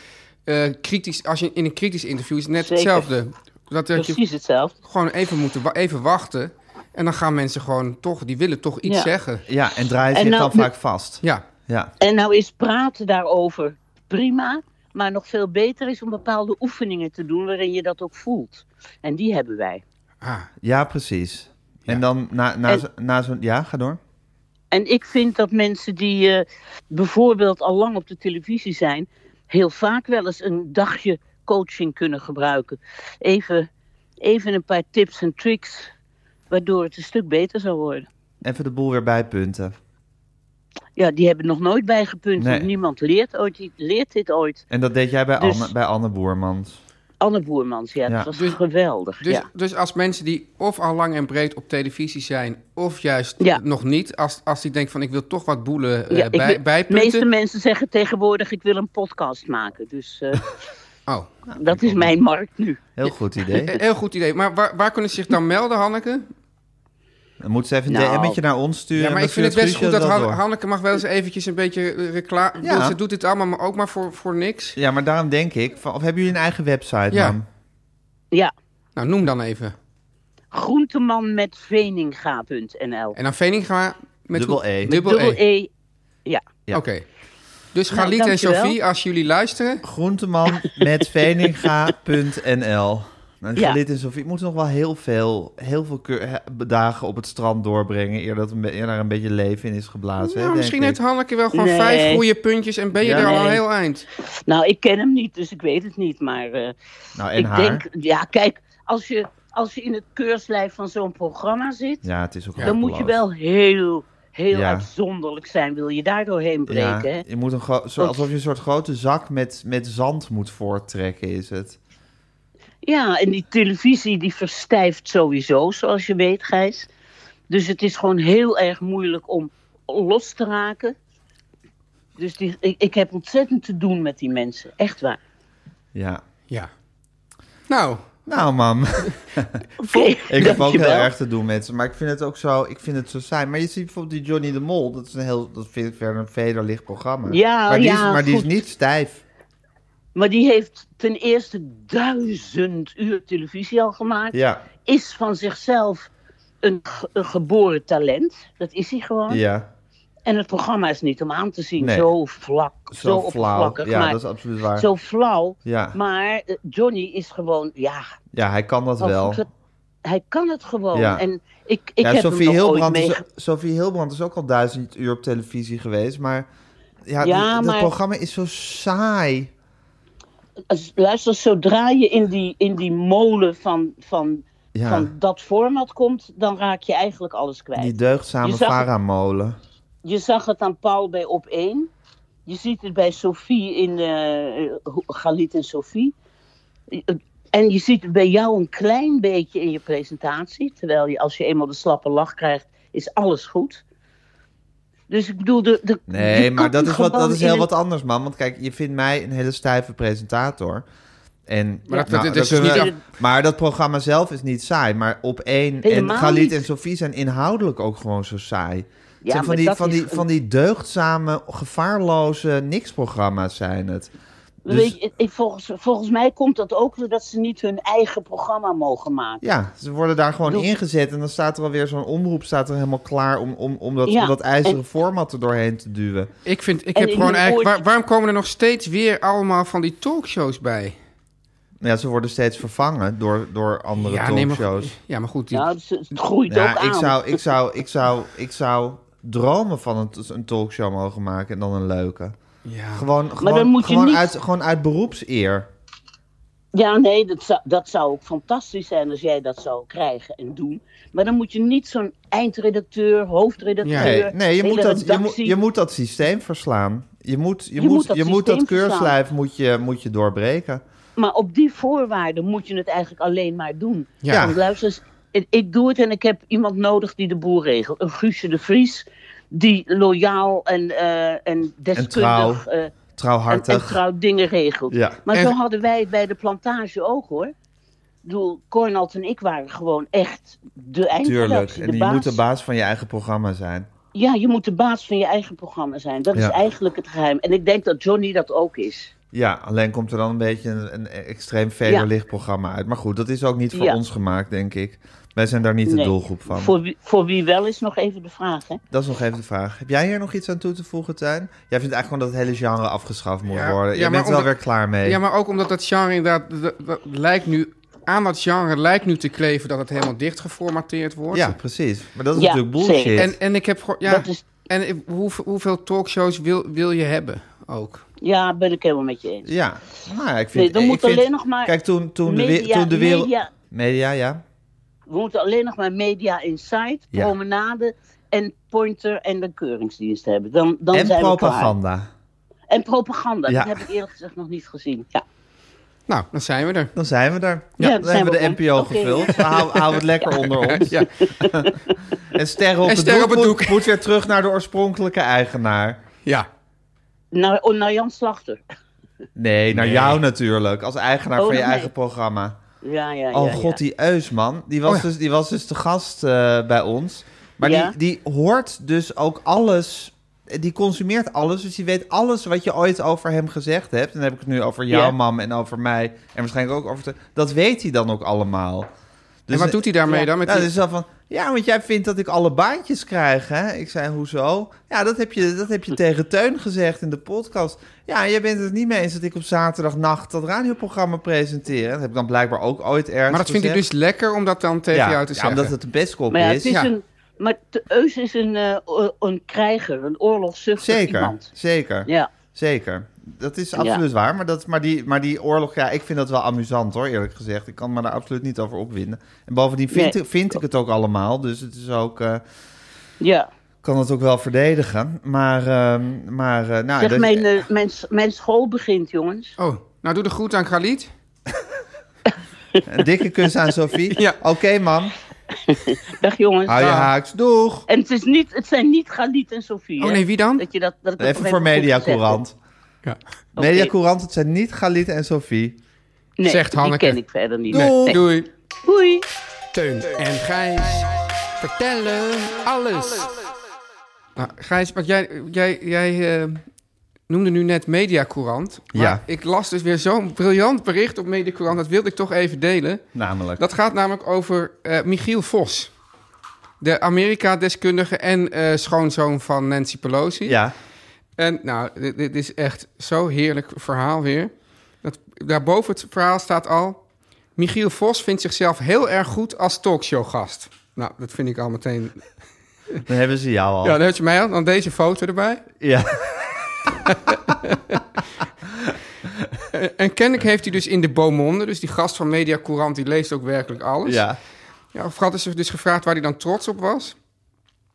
S3: eh, kritisch, als je in een kritisch interview is net
S6: Zeker.
S3: hetzelfde. Dat, dat je
S6: Precies hetzelfde.
S3: gewoon even moet wa- even wachten en dan gaan mensen gewoon toch, die willen toch iets
S6: Ja.
S3: zeggen.
S2: Ja, en draai je
S6: En
S2: zich
S6: nou-
S2: dan vaak vast.
S3: Ja,
S2: Ja.
S6: En nou is praten daarover prima, maar nog veel beter is om bepaalde oefeningen te doen waarin je dat ook voelt. En die hebben wij.
S3: ah,
S2: ja, precies. En dan na, na,
S6: En-
S2: zo- na zo'n... Ja, ga door.
S6: En ik vind dat mensen die eh, bijvoorbeeld al lang op de televisie zijn, heel vaak wel eens een dagje coaching kunnen gebruiken. Even, even een paar tips en tricks, waardoor het een stuk beter zou worden.
S2: Even de boel weer bijpunten.
S6: Ja, die hebben nog nooit bijgepunt.
S2: Nee.
S6: Niemand leert, ooit, leert dit ooit.
S2: En dat deed jij bij,
S6: Dus-
S2: Anne, bij Anne Boermans.
S6: Anne Boermans, ja,
S2: Ja.
S6: dat was
S3: Dus-
S6: geweldig.
S3: Dus,
S6: ja.
S3: dus als mensen die of al lang en breed op televisie zijn, of juist
S6: Ja.
S3: nog niet, als, als die denkt van ik wil toch wat boelen eh,
S6: Ja, ik
S3: bij,
S6: wil- de
S3: bijpunten.
S6: meeste mensen zeggen tegenwoordig: ik wil een podcast maken. Dus eh,
S3: Oh,
S6: dat is mijn markt nu.
S2: Heel goed idee.
S3: eh, heel goed idee. Maar waar, waar kunnen ze zich dan melden, Hanneke?
S2: Dan moeten ze even een
S6: Nou.
S2: DM'tje naar ons sturen.
S3: Ja, maar
S2: en
S3: ik vind het
S2: dan
S3: best
S2: stuurt
S3: goed dat
S2: Guusje
S3: Han-
S2: door.
S3: Hanneke mag wel eens eventjes een beetje eh, reclame...
S2: Ja.
S3: Ze doet dit allemaal maar ook maar voor, voor niks.
S2: Ja, maar daarom denk ik... Van, of hebben jullie een eigen website,
S3: Ja.
S2: man?
S6: Ja,
S3: Nou, noem dan even.
S6: groenteman met veninga.nl.
S3: En dan Veninga met...
S2: Dubbel E.
S3: Dubbel
S6: Dubbel
S3: E.
S6: E. Ja,
S2: Ja.
S3: Oké. Dus
S6: Nou,
S3: Galit en
S6: dankjewel.
S3: Sophie, als jullie luisteren...
S2: Groenteman met veninga.nl. Nou,
S6: Ja.
S2: Galit en Sofie moeten nog wel heel veel, heel veel keur- he- dagen op het strand doorbrengen... eer, dat een be- eer daar een beetje leven in is geblazen.
S3: Nou,
S2: hè,
S3: misschien
S2: denk
S3: heeft
S2: ik.
S3: Hanneke wel gewoon
S6: Nee.
S3: vijf goede puntjes en ben je
S2: Ja.
S3: er al een
S6: Nee.
S3: heel eind.
S6: nou, ik ken hem niet, dus ik weet het niet. Maar eh,
S2: Nou, en
S6: ik
S2: haar.
S6: denk, ja, kijk, als je, als je in het keurslijf van zo'n programma zit,
S2: Ja, het is ook
S6: dan moet je wel heel, heel
S2: Ja.
S6: uitzonderlijk zijn. Wil je daar doorheen
S2: Ja,
S6: breken? hè?
S2: je moet een gro- zo,
S6: Want-
S2: alsof je een soort grote zak met, met zand moet voorttrekken, is het.
S6: Ja, en die televisie die verstijft sowieso, zoals je weet, Gijs. Dus het is gewoon heel erg moeilijk om los te raken. Dus die, ik, ik heb ontzettend te doen met die mensen, echt waar.
S2: Ja.
S3: Ja. Nou,
S2: Nou, mam.
S6: Oké,
S2: Ik heb ook heel
S6: dankjewel.
S2: erg te doen met ze. Maar ik vind het ook zo, ik vind het zo saai. Maar je ziet bijvoorbeeld die Johnny de Mol. Dat is een heel, dat vind ik verder een vederlicht programma.
S6: Ja,
S2: maar die
S6: ja,
S2: is, Maar die is
S6: goed.
S2: niet stijf.
S6: Maar die heeft ten eerste duizend uur televisie al gemaakt.
S2: Ja,
S6: Is van zichzelf een, ge- een geboren talent. Dat is hij gewoon.
S2: ja.
S6: En het programma is niet om aan te zien.
S2: Nee.
S6: Zo vlak, zo,
S2: Zo, flauw.
S6: oppervlakkig.
S2: Ja,
S6: maar
S2: dat is absoluut waar.
S6: Zo flauw.
S2: Ja.
S6: Maar eh, Johnny is gewoon, ja,
S2: Ja, hij kan dat
S6: wat
S2: wel.
S6: goed, hij kan het gewoon.
S2: Ja.
S6: En ik, ik
S2: ja,
S6: heb
S2: Sophie
S6: hem nog ooit
S2: Hilbrand,
S6: mee...
S2: is, Sophie Hilbrand is ook al duizend uur op televisie geweest. Maar ja,
S6: Ja,
S2: die- dat
S6: maar-
S2: programma is zo saai.
S6: Als- Luister, zodra je in die, in die molen van, van,
S2: Ja.
S6: van dat format komt, dan raak je eigenlijk alles kwijt.
S2: Die deugdzame
S6: Je zag het-
S2: Faramolen.
S6: Je zag het aan Paul bij Op 1. Je ziet het bij Sophie in eh Galit en Sophie. En je ziet het bij jou een klein beetje in je presentatie. Terwijl je, als je eenmaal de slappe lach krijgt, is alles goed. Dus ik bedoel, de, de,
S2: Nee,
S6: je
S2: maar
S6: kan
S2: dat is, wat, dat
S6: gewoon
S2: is heel
S6: in
S2: wat anders, man. Want kijk, je vindt mij een hele stijve presentator. En,
S3: Maar dat-
S2: nou,
S3: dat
S2: daar
S3: is dus
S2: kunnen we-
S3: niet-
S2: maar dat programma zelf is niet saai. Maar op één en
S6: Helemaal
S2: Galit
S6: niet.
S2: en Sofie zijn inhoudelijk ook gewoon zo saai. Het
S6: Ja,
S2: zijn van
S6: maar
S2: die,
S6: dat
S2: van,
S6: is
S2: die,
S6: een-
S2: van die deugdzame, gevaarloze niks-programma's zijn het. Dus
S6: Weet je, ik, volgens, volgens mij komt dat ook doordat ze niet hun eigen programma mogen maken.
S2: ja, ze worden daar gewoon
S6: Doe-
S2: ingezet. En dan staat er alweer zo'n omroep staat er helemaal klaar om, om, om, dat,
S6: Ja,
S2: om dat ijzeren
S6: en-
S2: format er doorheen te duwen.
S3: ik vind, ik
S6: En
S3: heb
S6: in
S3: gewoon
S6: de
S3: eigenlijk...
S6: oor-
S3: waar- waarom komen er nog steeds weer allemaal van die talkshows bij?
S2: Nou Ja, ze worden steeds vervangen door, door andere
S3: nee,
S2: talkshows.
S3: maar, ja, maar goed. Die,
S6: Nou, dus het groeit ook
S2: Ja,
S6: aan.
S2: ik zou, ik, zou, ik, zou, ik zou dromen van een, een talkshow mogen maken en dan een leuke.
S3: ja.
S2: Gewoon, gewoon,
S6: dan moet je
S2: gewoon,
S6: niet-
S2: uit, gewoon uit beroepseer.
S6: Ja, nee, dat zou, dat zou ook fantastisch zijn als jij dat zou krijgen en doen. Maar dan moet je niet zo'n eindredacteur, hoofdredacteur.
S2: Nee, nee je,
S6: hele
S2: moet dat, je, moet,
S6: redactie-
S2: je moet dat systeem verslaan. Je moet, je
S6: Je
S2: moet,
S6: moet dat
S2: je moet dat
S6: systeem verslaan.
S2: keurslijf moet je, moet je doorbreken.
S6: Maar op die voorwaarden moet je het eigenlijk alleen maar doen.
S3: Ja.
S6: Want luister eens, ik- ik doe het en ik heb iemand nodig die de boel regelt. Een Guusje de Vries, die loyaal en, eh, en deskundig
S2: trouw.
S6: eh, en- en,
S2: Trouwhartig.
S6: trouw dingen regelt.
S2: Ja.
S6: Maar
S3: En-
S6: zo hadden wij het bij de plantage ook hoor. Ik bedoel, Cornald en ik waren gewoon echt de
S2: Tuurlijk.
S6: eindredactie,
S2: En
S6: de
S2: je moet
S6: baas.
S2: de baas van je eigen programma zijn.
S6: ja, je moet de baas van je eigen programma zijn. Dat
S2: Ja.
S6: is eigenlijk het geheim. En ik denk dat Johnny dat ook is.
S2: Ja, alleen komt er dan een beetje een, een extreem vederlicht programma uit. Maar goed, dat is ook niet voor
S6: Ja.
S2: ons gemaakt, denk ik. Wij zijn daar niet de
S6: Nee.
S2: doelgroep van.
S6: Voor wie, voor wie wel is nog even de vraag, hè?
S2: Dat is nog even de vraag. Heb jij hier nog iets aan toe te voegen, Tuin? Jij vindt eigenlijk gewoon dat het hele genre afgeschaft moet
S3: Ja,
S2: worden.
S3: ja,
S2: Je
S3: maar
S2: bent er wel
S3: omdat-
S2: weer klaar mee.
S3: Ja, maar ook omdat dat genre inderdaad... Dat, dat lijkt nu, aan dat genre lijkt nu te kleven dat het helemaal dicht geformateerd wordt.
S2: Ja, precies. Maar dat is
S6: Ja,
S2: natuurlijk bullshit.
S6: zeker.
S3: En, en ik heb gewoon... Ja,
S6: Dat is-
S3: En ik- hoe, hoeveel talkshows wil, wil je hebben ook?
S6: Ja, ben ik helemaal met je eens.
S2: Ja, nou ja, ik vind...
S6: Nee, dan
S2: ik
S6: moet
S2: vind-
S6: alleen nog maar
S2: Kijk, toen, toen, de, we-
S6: media-
S2: toen de wereld...
S6: media-
S2: Media, ja.
S6: we moeten alleen nog maar media insight,
S2: Ja.
S6: promenade en pointer en de keuringsdienst hebben. Dan, dan
S2: en
S6: zijn we
S2: propaganda.
S6: klaar. En propaganda.
S2: Ja.
S6: Dat heb ik eerlijk gezegd nog niet gezien. Ja.
S3: Nou, dan zijn we er.
S2: Dan zijn we daar.
S6: Ja, dan
S2: dan
S6: zijn
S2: hebben we
S6: we
S2: de
S6: om.
S2: NPO
S6: Oké.
S2: gevuld. We houden, houden het lekker onder ons.
S3: Ja.
S2: En sterren op,
S3: En
S2: het,
S3: sterren
S2: doek
S3: op het
S2: moet-
S3: doek.
S2: Moet, weer terug naar de oorspronkelijke eigenaar.
S3: Ja.
S6: Nou, oh, nou, Jan Slachter.
S2: Nee, naar jou natuurlijk. Als eigenaar
S6: Oh,
S2: van je
S6: nee.
S2: eigen programma.
S6: Ja, ja, ja.
S2: Oh
S6: ja.
S2: god, die Eusman. Die was,
S3: Oh, ja.
S2: dus, die was dus te gast eh, bij ons. Maar
S6: Ja.
S2: die, die hoort dus ook alles. Die consumeert alles. Dus die weet alles wat je ooit over hem gezegd hebt. En dan heb ik het nu over jouw
S6: Ja.
S2: mam en over mij. En waarschijnlijk ook over... Te, dat weet hij dan ook allemaal. Dus,
S3: en wat doet hij daarmee
S6: Ja.
S3: dan? Met
S2: Nou,
S3: die-
S2: dus dan van, ja, want jij vindt dat ik alle baantjes krijg, hè? Ik zei, hoezo? Ja, dat heb je, dat heb je tegen Teun gezegd in de podcast. Ja, en jij bent het niet mee eens dat ik op zaterdagnacht dat radioprogramma presenteer. Dat heb ik dan blijkbaar ook ooit ergens
S3: maar dat vind ik dus lekker om dat dan tegen
S2: ja,
S3: jou te
S2: ja,
S3: zeggen.
S2: omdat het de bestkop
S6: Maar ja,
S2: is.
S6: het is
S3: Ja.
S6: een... Maar Te- Eus is een, eh, o- een krijger, een oorlogszuchtig
S2: Zeker,
S6: dus iemand.
S2: zeker,
S6: Ja.
S2: zeker. Dat is absoluut waar, maar, dat, maar, die, maar die oorlog, ja, ik vind dat wel amusant hoor, eerlijk gezegd. Ik kan me daar absoluut niet over opwinden. En bovendien vind,
S6: Nee.
S2: ik- vind ik het ook allemaal, dus het is ook... eh,
S6: ja.
S2: kan het ook wel verdedigen. Maar, ehm, maar eh, nou,
S6: Zeg,
S2: dat-
S6: mijn, eh, mijn, s- mijn school begint, jongens.
S3: Oh, nou doe de groet aan Khalid.
S2: een dikke kus aan Sophie.
S3: eh, Ja.
S2: Oké, mam.
S6: Dag, jongens.
S2: Hou je haaks. Doeg.
S6: En het, is niet, het zijn niet Galit en Sofie.
S3: Oh
S6: hè?
S3: nee, wie dan?
S6: Dat je dat, dat ik dat nog
S2: Even voor
S6: goed gezegd
S2: Mediacourant.
S3: Ja.
S6: heb.
S2: Mediacourant, het zijn niet Galit en Sophie.
S6: Oké. Nee,
S3: Zegt Hanneke.
S6: Die ken ik verder niet.
S3: Nee,
S6: Nee.
S3: Doei.
S6: Doei.
S3: Teun en Gijs vertellen alles. Nou, Gijs, maar jij, jij, jij eh, noemde nu net Mediacourant. Maar
S2: Ja.
S3: ik las dus weer zo'n briljant bericht op Mediacourant. Dat wilde ik toch even delen.
S2: Namelijk.
S3: Dat gaat namelijk over eh, Michiel Vos. De Amerika-deskundige en eh, schoonzoon van Nancy Pelosi.
S2: Ja.
S3: En nou, dit, dit is echt zo'n heerlijk verhaal weer. Dat, daarboven het verhaal staat al... Michiel Vos vindt zichzelf heel erg goed als talkshowgast. Nou, dat vind ik al meteen...
S2: Dan hebben ze jou al.
S3: Ja,
S2: Ja.
S3: dan had je mij al. Dan deze foto erbij. En kennelijk heeft hij dus in de Beaumonde... dus die gast van Media Courant, die leest ook werkelijk alles.
S2: Ja.
S3: Ja, of hadden ze dus gevraagd waar hij dan trots op was.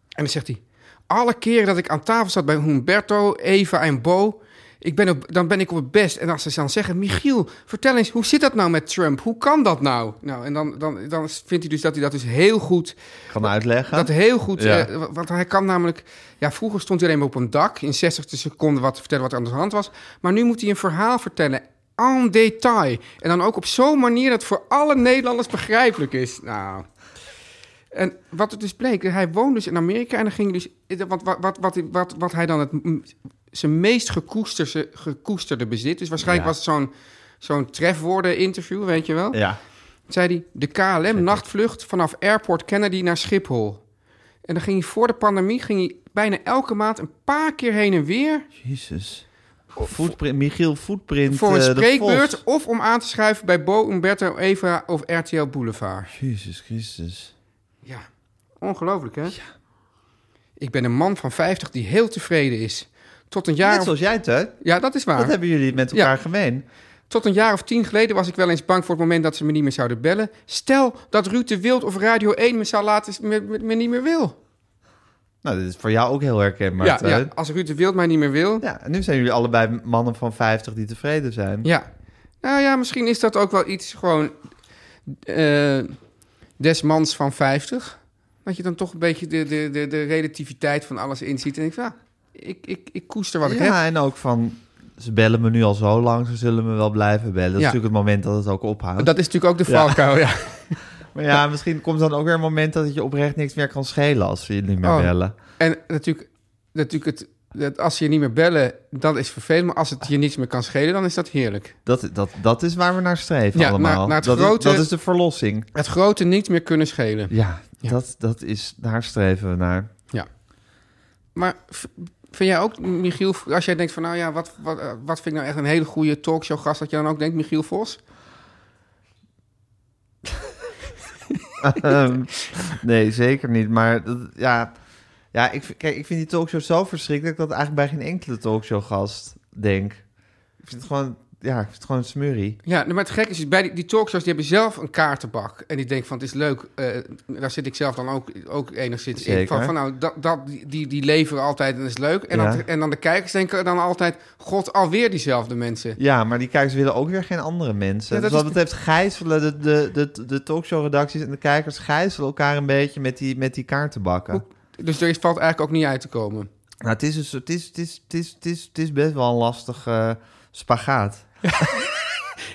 S3: En dan zegt hij... Alle keren dat ik aan tafel zat bij Humberto, Eva en Bo... Ik ben op, dan ben ik op het best. En als ze dan zeggen... Michiel, vertel eens, hoe zit dat nou met Trump? Hoe kan dat nou? Nou, en dan, dan, dan vindt hij dus dat hij dat dus heel goed...
S2: Kan uitleggen.
S3: Dat heel goed...
S2: Ja.
S3: eh, want hij kan namelijk... Ja, vroeger stond hij alleen maar op een dak... in 60 seconden wat te vertellen wat er aan de hand was. Maar nu moet hij een verhaal vertellen... en detail. En dan ook op zo'n manier dat het voor alle Nederlanders begrijpelijk is. Nou... En wat het dus bleek, hij woonde dus in Amerika en dan ging hij dus... Wat, wat, wat, wat, wat, wat hij dan het, m- zijn meest gekoesterde, gekoesterde bezit... Dus waarschijnlijk
S2: Ja.
S3: was het zo'n zo'n trefwoorden-interview, weet je wel?
S2: Ja.
S3: zei hij, de KLM-nachtvlucht vanaf Airport Kennedy naar Schiphol. En dan ging hij voor de pandemie ging hij bijna elke maand een paar keer heen en weer...
S2: Jezus. Footprint, Michiel Footprint.
S3: voor een
S2: eh, de
S3: spreekbeurt
S2: Vos.
S3: of om aan te schuiven bij Bo, Umberto, Eva of RTL Boulevard.
S2: Jezus Christus.
S3: Ja, ongelooflijk hè? Ik ben een man van 50 die heel tevreden is. Tot een jaar...
S2: Net zoals jij, Teun.
S3: Ja, dat is waar.
S2: Dat hebben jullie met elkaar
S3: Ja.
S2: gemeen.
S3: Tot een jaar of tien geleden was ik wel eens bang voor het moment dat ze me niet meer zouden bellen. Stel dat Ruud de Wild of Radio 1 me zou laten me, me, me niet meer wil.
S2: Nou, dit is voor jou ook heel herkenbaar.
S3: Ja,
S2: Teun.
S3: ja, als Ruud de Wild mij niet meer wil.
S2: Ja, en nu zijn jullie allebei mannen van 50 die tevreden zijn.
S3: Ja. Nou ja, misschien is dat ook wel iets gewoon eh des mans van 50. Dat je dan toch een beetje de, de, de, de relativiteit van alles inziet. En ik van, ja, ik, ik, ik koester wat ik heb.
S2: Ja, en ook van ze bellen me nu al zo lang, ze zullen me wel blijven bellen. Dat
S3: Ja.
S2: is natuurlijk het moment dat het ook ophoudt.
S3: Dat is natuurlijk ook de valkuil, ja.
S2: Maar ja, misschien komt dan ook weer een moment dat het je oprecht niks meer kan schelen als ze je niet meer
S3: Oh.
S2: bellen.
S3: En natuurlijk, natuurlijk het, dat als ze je niet meer bellen, dat is vervelend. Maar als het je niets meer kan schelen, dan is dat heerlijk.
S2: Dat, dat, dat is waar we naar streven
S3: Ja,
S2: allemaal.
S3: naar- naar het
S2: dat,
S3: grote-
S2: is, dat is de verlossing.
S3: Het grote niet meer kunnen schelen.
S2: Ja,
S3: Ja.
S2: Dat, dat is, daar streven we naar.
S3: Maar v- vind jij ook, Michiel, als jij denkt van... nou ja, wat, wat, eh, wat vind ik nou echt een hele goede talkshowgast... dat je dan ook denkt, Michiel Vos?
S2: Ehm, nee, zeker niet. Maar dat, ja, ja ik, vind- kijk, ik vind die talkshow zo verschrikkelijk dat ik dat eigenlijk bij geen enkele talkshowgast denk. Ik vind het gewoon, ja, ik vind het gewoon smurrie.
S3: Ja, maar het gek is, bij die, die talkshows die hebben zelf een kaartenbak. En die denken van, het is leuk. eh, daar zit ik zelf dan ook, ook enigszins in.
S2: Zeker.
S3: Van, van nou, dat, dat, die, die leveren altijd en dat is leuk. En,
S2: Ja.
S3: dan, en dan de kijkers denken dan altijd... God, alweer diezelfde mensen.
S2: Ja, maar die kijkers willen ook weer geen andere mensen.
S3: Ja, dat
S2: dus wat
S3: is-
S2: betreft gijzelen de, de, de, de talkshow-redacties en de kijkers gijzelen elkaar een beetje met die, met die kaartenbakken.
S3: Dus er is- valt eigenlijk ook niet uit te komen.
S2: Nou, het is, dus, het, is, het, is, het, is, het, is, het is best wel een lastig eh, spagaat.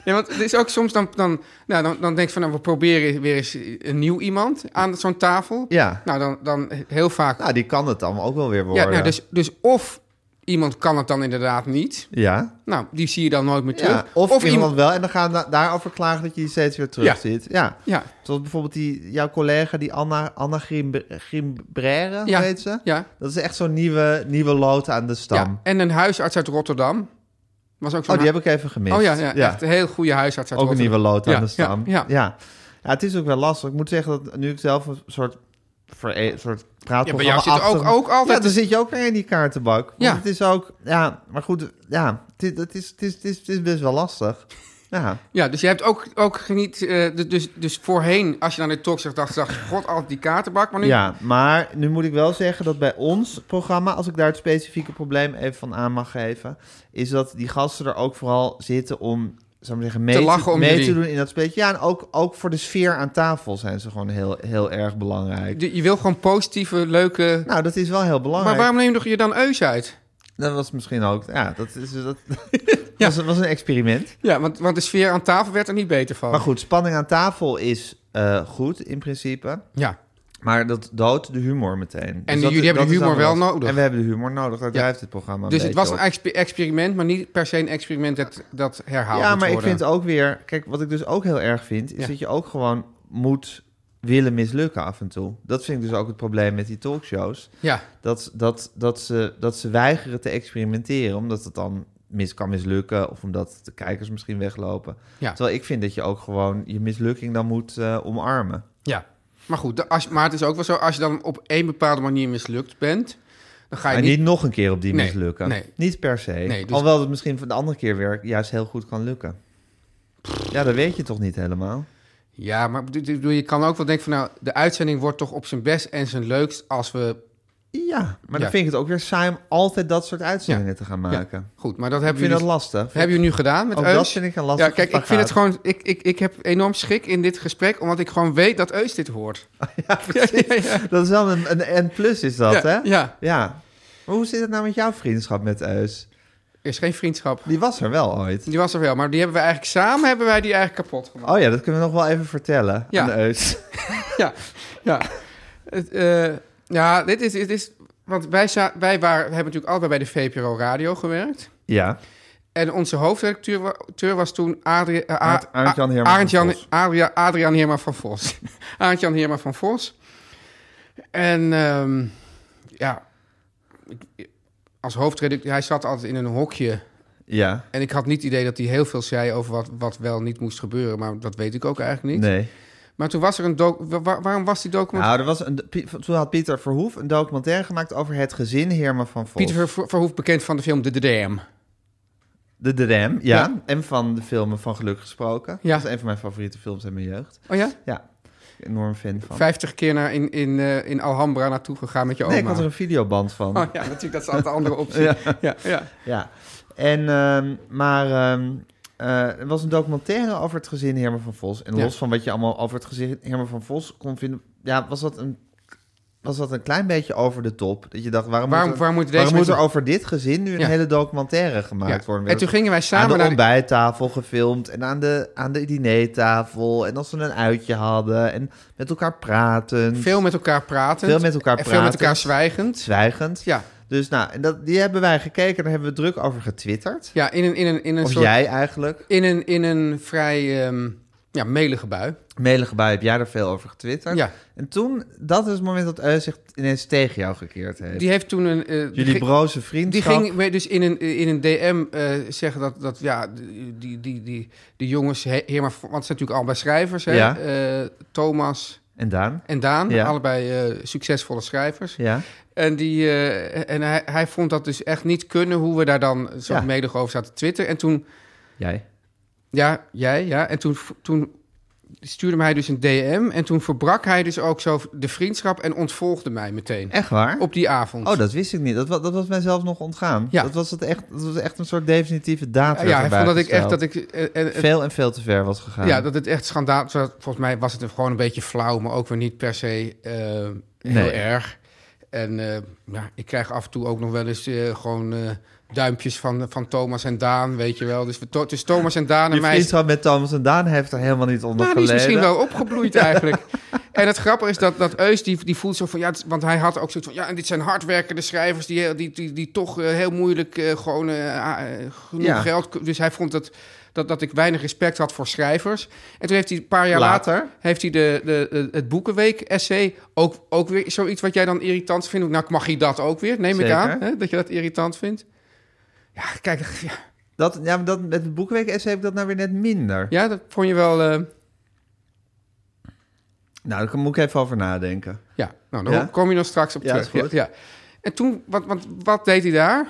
S3: Ja, want het is ook soms dan... Dan, nou, dan, dan denk je van, nou, we proberen weer eens een nieuw iemand aan zo'n tafel.
S2: Ja,
S3: Nou, dan, dan heel vaak...
S2: nou, die kan het dan ook wel weer worden.
S3: ja, nou, dus, dus of iemand kan het dan inderdaad niet.
S2: ja.
S3: Nou, die zie je dan nooit meer terug.
S2: Ja, of, iemand, wel. En dan gaan we da- daarover klagen dat je die steeds weer terug
S3: Ja.
S2: ziet. Ja.
S3: Ja,
S2: Zoals bijvoorbeeld die, jouw collega, die Anna, Anna Grimb- Grimbrere,
S3: Ja.
S2: weet ze?
S3: ja.
S2: Dat is echt zo'n nieuwe, nieuwe lood aan de stam.
S3: Ja, en een huisarts uit Rotterdam. Was ook zo'n
S2: Oh, die heb ik even gemist.
S3: Oh ja, ja, echt een heel goede huisarts uit
S2: Ook een nieuwe
S3: Rotterdam.
S2: lood aan
S3: Ja,
S2: de stam.
S3: ja, ja.
S2: Ja, het is ook wel lastig. Ik moet zeggen dat nu ik zelf een soort, verre- een soort
S3: Ja, bij
S2: praatprogramma
S3: jou zit
S2: achter-
S3: ook- ook altijd-
S2: Ja, dan zit je ook weer in die kaartenbak. Want
S3: Ja.
S2: Het is ook... Ja, maar goed. Ja, het is, het is, het is, het is, het is best wel lastig. Ja.
S3: Ja, dus je hebt ook, ook niet... eh, dus- dus, dus voorheen, als je naar de talk zegt, dacht dacht je... God, altijd die kaartenbak. Maar nu...
S2: Ja, maar nu moet ik wel zeggen dat bij ons programma, als ik daar het specifieke probleem even van aan mag geven, is dat die gasten er ook vooral zitten om, zou ik maar zeggen, mee
S3: Te
S2: te,
S3: lachen om
S2: mee
S3: jullie.
S2: te doen in dat spelletje. Ja, en ook, ook voor de sfeer aan tafel zijn ze gewoon heel, heel erg belangrijk.
S3: Je je wil gewoon positieve, leuke...
S2: Nou, dat is wel heel
S3: maar
S2: belangrijk.
S3: waarom neem je dan Eus uit?
S2: Dat was misschien ook, ja, dat, is, dat was, was een experiment.
S3: Ja, want, want de sfeer aan tafel werd er niet beter van.
S2: Maar goed, spanning aan tafel is eh, goed in principe.
S3: Ja.
S2: Maar dat doodt de humor meteen. Dus En
S3: jullie hebben de humor wel nodig.
S2: En we hebben de humor nodig, daar
S3: Ja.
S2: drijft het programma een
S3: Dus het
S2: beetje
S3: was
S2: op.
S3: een expe- experiment, maar niet per se een experiment dat, dat herhaald
S2: Ja,
S3: moet
S2: maar ik
S3: worden.
S2: vind ook weer... Kijk, wat ik dus ook heel erg vind... is
S3: Ja.
S2: dat je ook gewoon moet willen mislukken af en toe. Dat vind ik dus ook het probleem met die talkshows.
S3: Ja,
S2: Dat, dat, dat, ze, dat ze weigeren te experimenteren... omdat het dan mis kan mislukken... of omdat de kijkers misschien weglopen.
S3: Ja.
S2: Terwijl ik vind dat je ook gewoon je mislukking dan moet eh, omarmen.
S3: ja. Maar goed, de- als, maar het is ook wel zo, als je dan op één bepaalde manier mislukt bent... dan ga je
S2: En
S3: Ah, niet
S2: niet nog een keer op die
S3: Nee,
S2: mislukken.
S3: nee.
S2: Niet per se.
S3: Nee, dus-
S2: Alhoewel dat het misschien van de andere keer weer juist heel goed kan lukken. Ja, dat weet je toch niet helemaal?
S3: Ja, maar bedo- bedoel, je kan ook wel denken van nou, de uitzending wordt toch op zijn best en zijn leukst als we.
S2: Ja, maar
S3: Ja.
S2: dan vind ik het ook weer saai om altijd dat soort uitzendingen te gaan maken.
S3: Ja, goed, maar dat
S2: Ik
S3: hebben
S2: vind dat
S3: jullie, dus-
S2: lastig.
S3: hebben jullie nu gedaan met
S2: Ook
S3: Eus.
S2: dat vind ik een lastige
S3: Ja, kijk, ik vind
S2: spagaat.
S3: het gewoon. Ik, ik, ik heb enorm schik in dit gesprek, omdat ik gewoon weet dat Eus dit hoort.
S2: Ja, precies. Dat is wel een, een, een plus, is dat,
S3: ja,
S2: hè?
S3: ja,
S2: Ja. Maar hoe zit het nou met jouw vriendschap met Eus?
S3: er is geen vriendschap.
S2: Die was er wel ooit.
S3: Die was er wel, maar die hebben we eigenlijk samen hebben wij die eigenlijk kapot gemaakt.
S2: Oh ja, dat kunnen we nog wel even vertellen
S3: Ja.
S2: aan Eus.
S3: Ja, ja. Het, eh, ja, dit is, dit is want wij, za- wij waren, hebben natuurlijk allebei bij de VPRO Radio gewerkt.
S2: Ja, En
S3: En onze hoofdredacteur wa- teur was toen Adrie, eh, A-
S2: Aad- Arend-Jan
S3: A-
S2: Heerma van
S3: Arend-Jan-
S2: Vos.
S3: Adria- Adriaan Heerma van Vos. Arend-Jan Heerma van Vos. En ehm, ja, ik- als hoofdredacteur, hij zat altijd in een hokje.
S2: ja.
S3: En ik had niet het idee dat hij heel veel zei over wat, wat wel niet moest gebeuren. Maar dat weet ik ook eigenlijk niet.
S2: Nee.
S3: Maar toen was er een docu- wa- wa- waarom was die documentaire?
S2: Nou, er was een, Pie- toen had Pieter Verhoef een documentaire gemaakt over het gezin Herman van Vos.
S3: Pieter Ver- Verhoef bekend van de film De DDM.
S2: De Drem, ja.
S3: Ja.
S2: En van de filmen Van Geluk gesproken.
S3: Ja.
S2: Dat is een van mijn favoriete films uit mijn jeugd.
S3: Oh ja?
S2: Ja, enorm fan van.
S3: 50 keer naar in, in, eh, in Alhambra naartoe gegaan met je oma.
S2: Nee, ik had er een videoband van.
S3: Oh ja, natuurlijk, dat is altijd een andere optie.
S2: Ja.
S3: ja. Ja,
S2: Ja. En, ehm, maar ehm, eh, er was een documentaire over het gezin Herman van Vos. En
S3: Ja.
S2: los van wat je allemaal over het gezin Herman van Vos kon vinden... Ja, was dat een, was dat een klein beetje over de top. Dat je dacht, waarom,
S3: Waarom-
S2: moet, er,
S3: waarom moet deze
S2: waarom moet er
S3: mensen-
S2: over dit gezin nu een
S3: Ja.
S2: hele documentaire gemaakt worden?
S3: En toen gingen wij
S2: aan de
S3: samen naar... die-
S2: ontbijttafel gefilmd en aan de, aan de dinertafel. En als ze een uitje hadden en met elkaar praten.
S3: Veel met elkaar praten.
S2: Veel met elkaar
S3: Veel met
S2: pratend.
S3: elkaar zwijgend.
S2: zwijgend.
S3: Ja,
S2: Dus nou, en dat, die hebben wij gekeken en daar hebben we druk over getwitterd.
S3: ja in een, in een, in een
S2: of
S3: soort...
S2: jij eigenlijk.
S3: In een, in een vrij ehm, ja, melige bui.
S2: Melige bui heb jij daar veel over getwitterd.
S3: Ja.
S2: En toen, dat is het moment dat Eus zich ineens tegen jou gekeerd heeft.
S3: Die heeft toen een... eh, die
S2: Jullie
S3: ging-
S2: broze
S3: Die
S2: vriendschap.
S3: ging me dus in een, in een DM eh, zeggen dat, dat ja, die, die, die, die, die jongens... He, Herman van- want het zijn natuurlijk allebei schrijvers, hè?
S2: Ja.
S3: Eh, Thomas
S2: En Daan?
S3: en Daan.
S2: Ja.
S3: Allebei eh, succesvolle schrijvers.
S2: Ja.
S3: En, die, eh, en hij, hij vond dat dus echt niet kunnen hoe we daar dan zo
S2: Ja.
S3: medig over zaten te twitteren. En toen,
S2: Jij.
S3: ja, jij, ja. En toen, toen stuurde mij dus een DM. En toen verbrak hij dus ook zo de vriendschap en ontvolgde mij meteen.
S2: Echt waar?
S3: Op die avond.
S2: Oh, dat wist ik niet. Dat, wa- dat was mij zelfs nog ontgaan.
S3: Ja.
S2: Dat, was het echt, dat was echt een soort definitieve data.
S3: ja, hij vond dat ik echt, dat ik... eh, eh, het-
S2: veel en veel te ver was gegaan.
S3: ja, dat het echt schandaal... zo- Volgens mij was het gewoon een beetje flauw, maar ook weer niet per se eh,
S2: Nee.
S3: heel erg. En eh, ja, ik krijg af en toe ook nog wel eens eh, gewoon eh, duimpjes van, van Thomas en Daan, weet je wel. Dus we to- tussen Thomas en Daan en
S2: Je
S3: mij... is-
S2: vriendschap met Thomas en Daan heeft er helemaal niet onder
S3: Nou, die is
S2: geleden.
S3: misschien wel opgebloeid eigenlijk. En het grappige is dat, dat Eus, die, die voelt zo van... Ja, het- want hij had ook zoiets van... Ja, en dit zijn hardwerkende schrijvers... die, heel- die, die, die toch eh, heel moeilijk eh, gewoon eh, ah, eh, genoeg
S2: Ja.
S3: geld... k- Dus hij vond dat, dat, dat ik weinig respect had voor schrijvers. En toen heeft hij een paar jaar later...
S2: Later.
S3: heeft hij de, de, de- het Boekenweek-essay... Ook, ook weer zoiets wat jij dan irritant vindt. Nou, mag hij dat ook weer? Neem
S2: Zeker.
S3: ik aan, hè, dat je dat irritant vindt. Ja, kijk... Ja,
S2: Dat, ja, maar dat, met het boekweek-essay heb ik dat nou weer net minder.
S3: ja, dat vond je wel... eh,
S2: Nou, daar moet ik even over nadenken.
S3: Ja, nou, daar
S2: Ja?
S3: kom je nog straks op
S2: Ja,
S3: terug.
S2: is goed.
S3: Ja, ja. En toen, wat, wat, wat deed hij daar?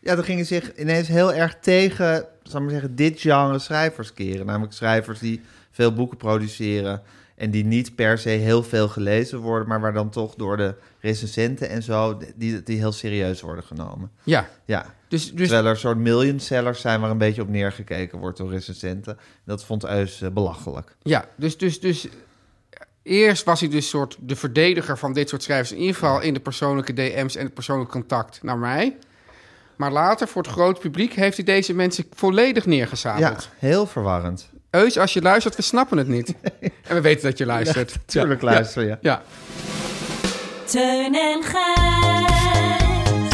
S2: Ja, dan gingen zich ineens heel erg tegen, zal ik maar zeggen, dit genre schrijvers keren. Namelijk schrijvers die veel boeken produceren en die niet per se heel veel gelezen worden, maar waar dan toch door de recensenten en zo, die, die heel serieus worden genomen.
S3: Ja,
S2: Ja,
S3: dus, dus
S2: Terwijl er een soort million sellers zijn waar een beetje op neergekeken wordt door recensenten. Dat vond Eus eh, belachelijk.
S3: Ja, dus, dus, dus eerst was hij dus soort de verdediger van dit soort schrijvers. In ieder geval in de persoonlijke DM's en het persoonlijk contact naar mij. Maar later, voor het groot publiek, heeft hij deze mensen volledig
S2: ja,
S3: neergezadeld.
S2: heel verwarrend.
S3: Eus, als je luistert, we snappen het niet. En we weten dat je luistert.
S2: Tuurlijk
S3: Ja,
S2: luister je.
S3: Ja, ja.
S5: Teun en Gijs.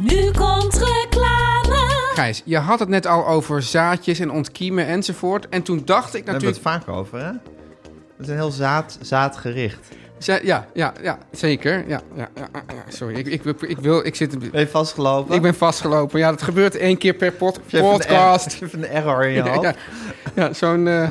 S5: Nu komt reclame.
S3: Gijs, je had het net al over zaadjes en ontkiemen enzovoort. En toen dacht ik
S2: Daar hebben we
S3: natuurlijk...
S2: het vaak over, hè? Het is een heel zaad, zaadgericht.
S3: Zij- ja, ja, ja, zeker. Ja, ja, ja, ja, ja, sorry, ik, ik, wil- ik wil, ik zit, een-
S2: Ben je vastgelopen?
S3: ik ben vastgelopen. Ja, dat gebeurt één keer per pod-
S2: Je hebt een er-
S3: podcast.
S2: je hebt een error in je
S3: Ja,
S2: hoofd.
S3: ja, ja, zo'n. eh,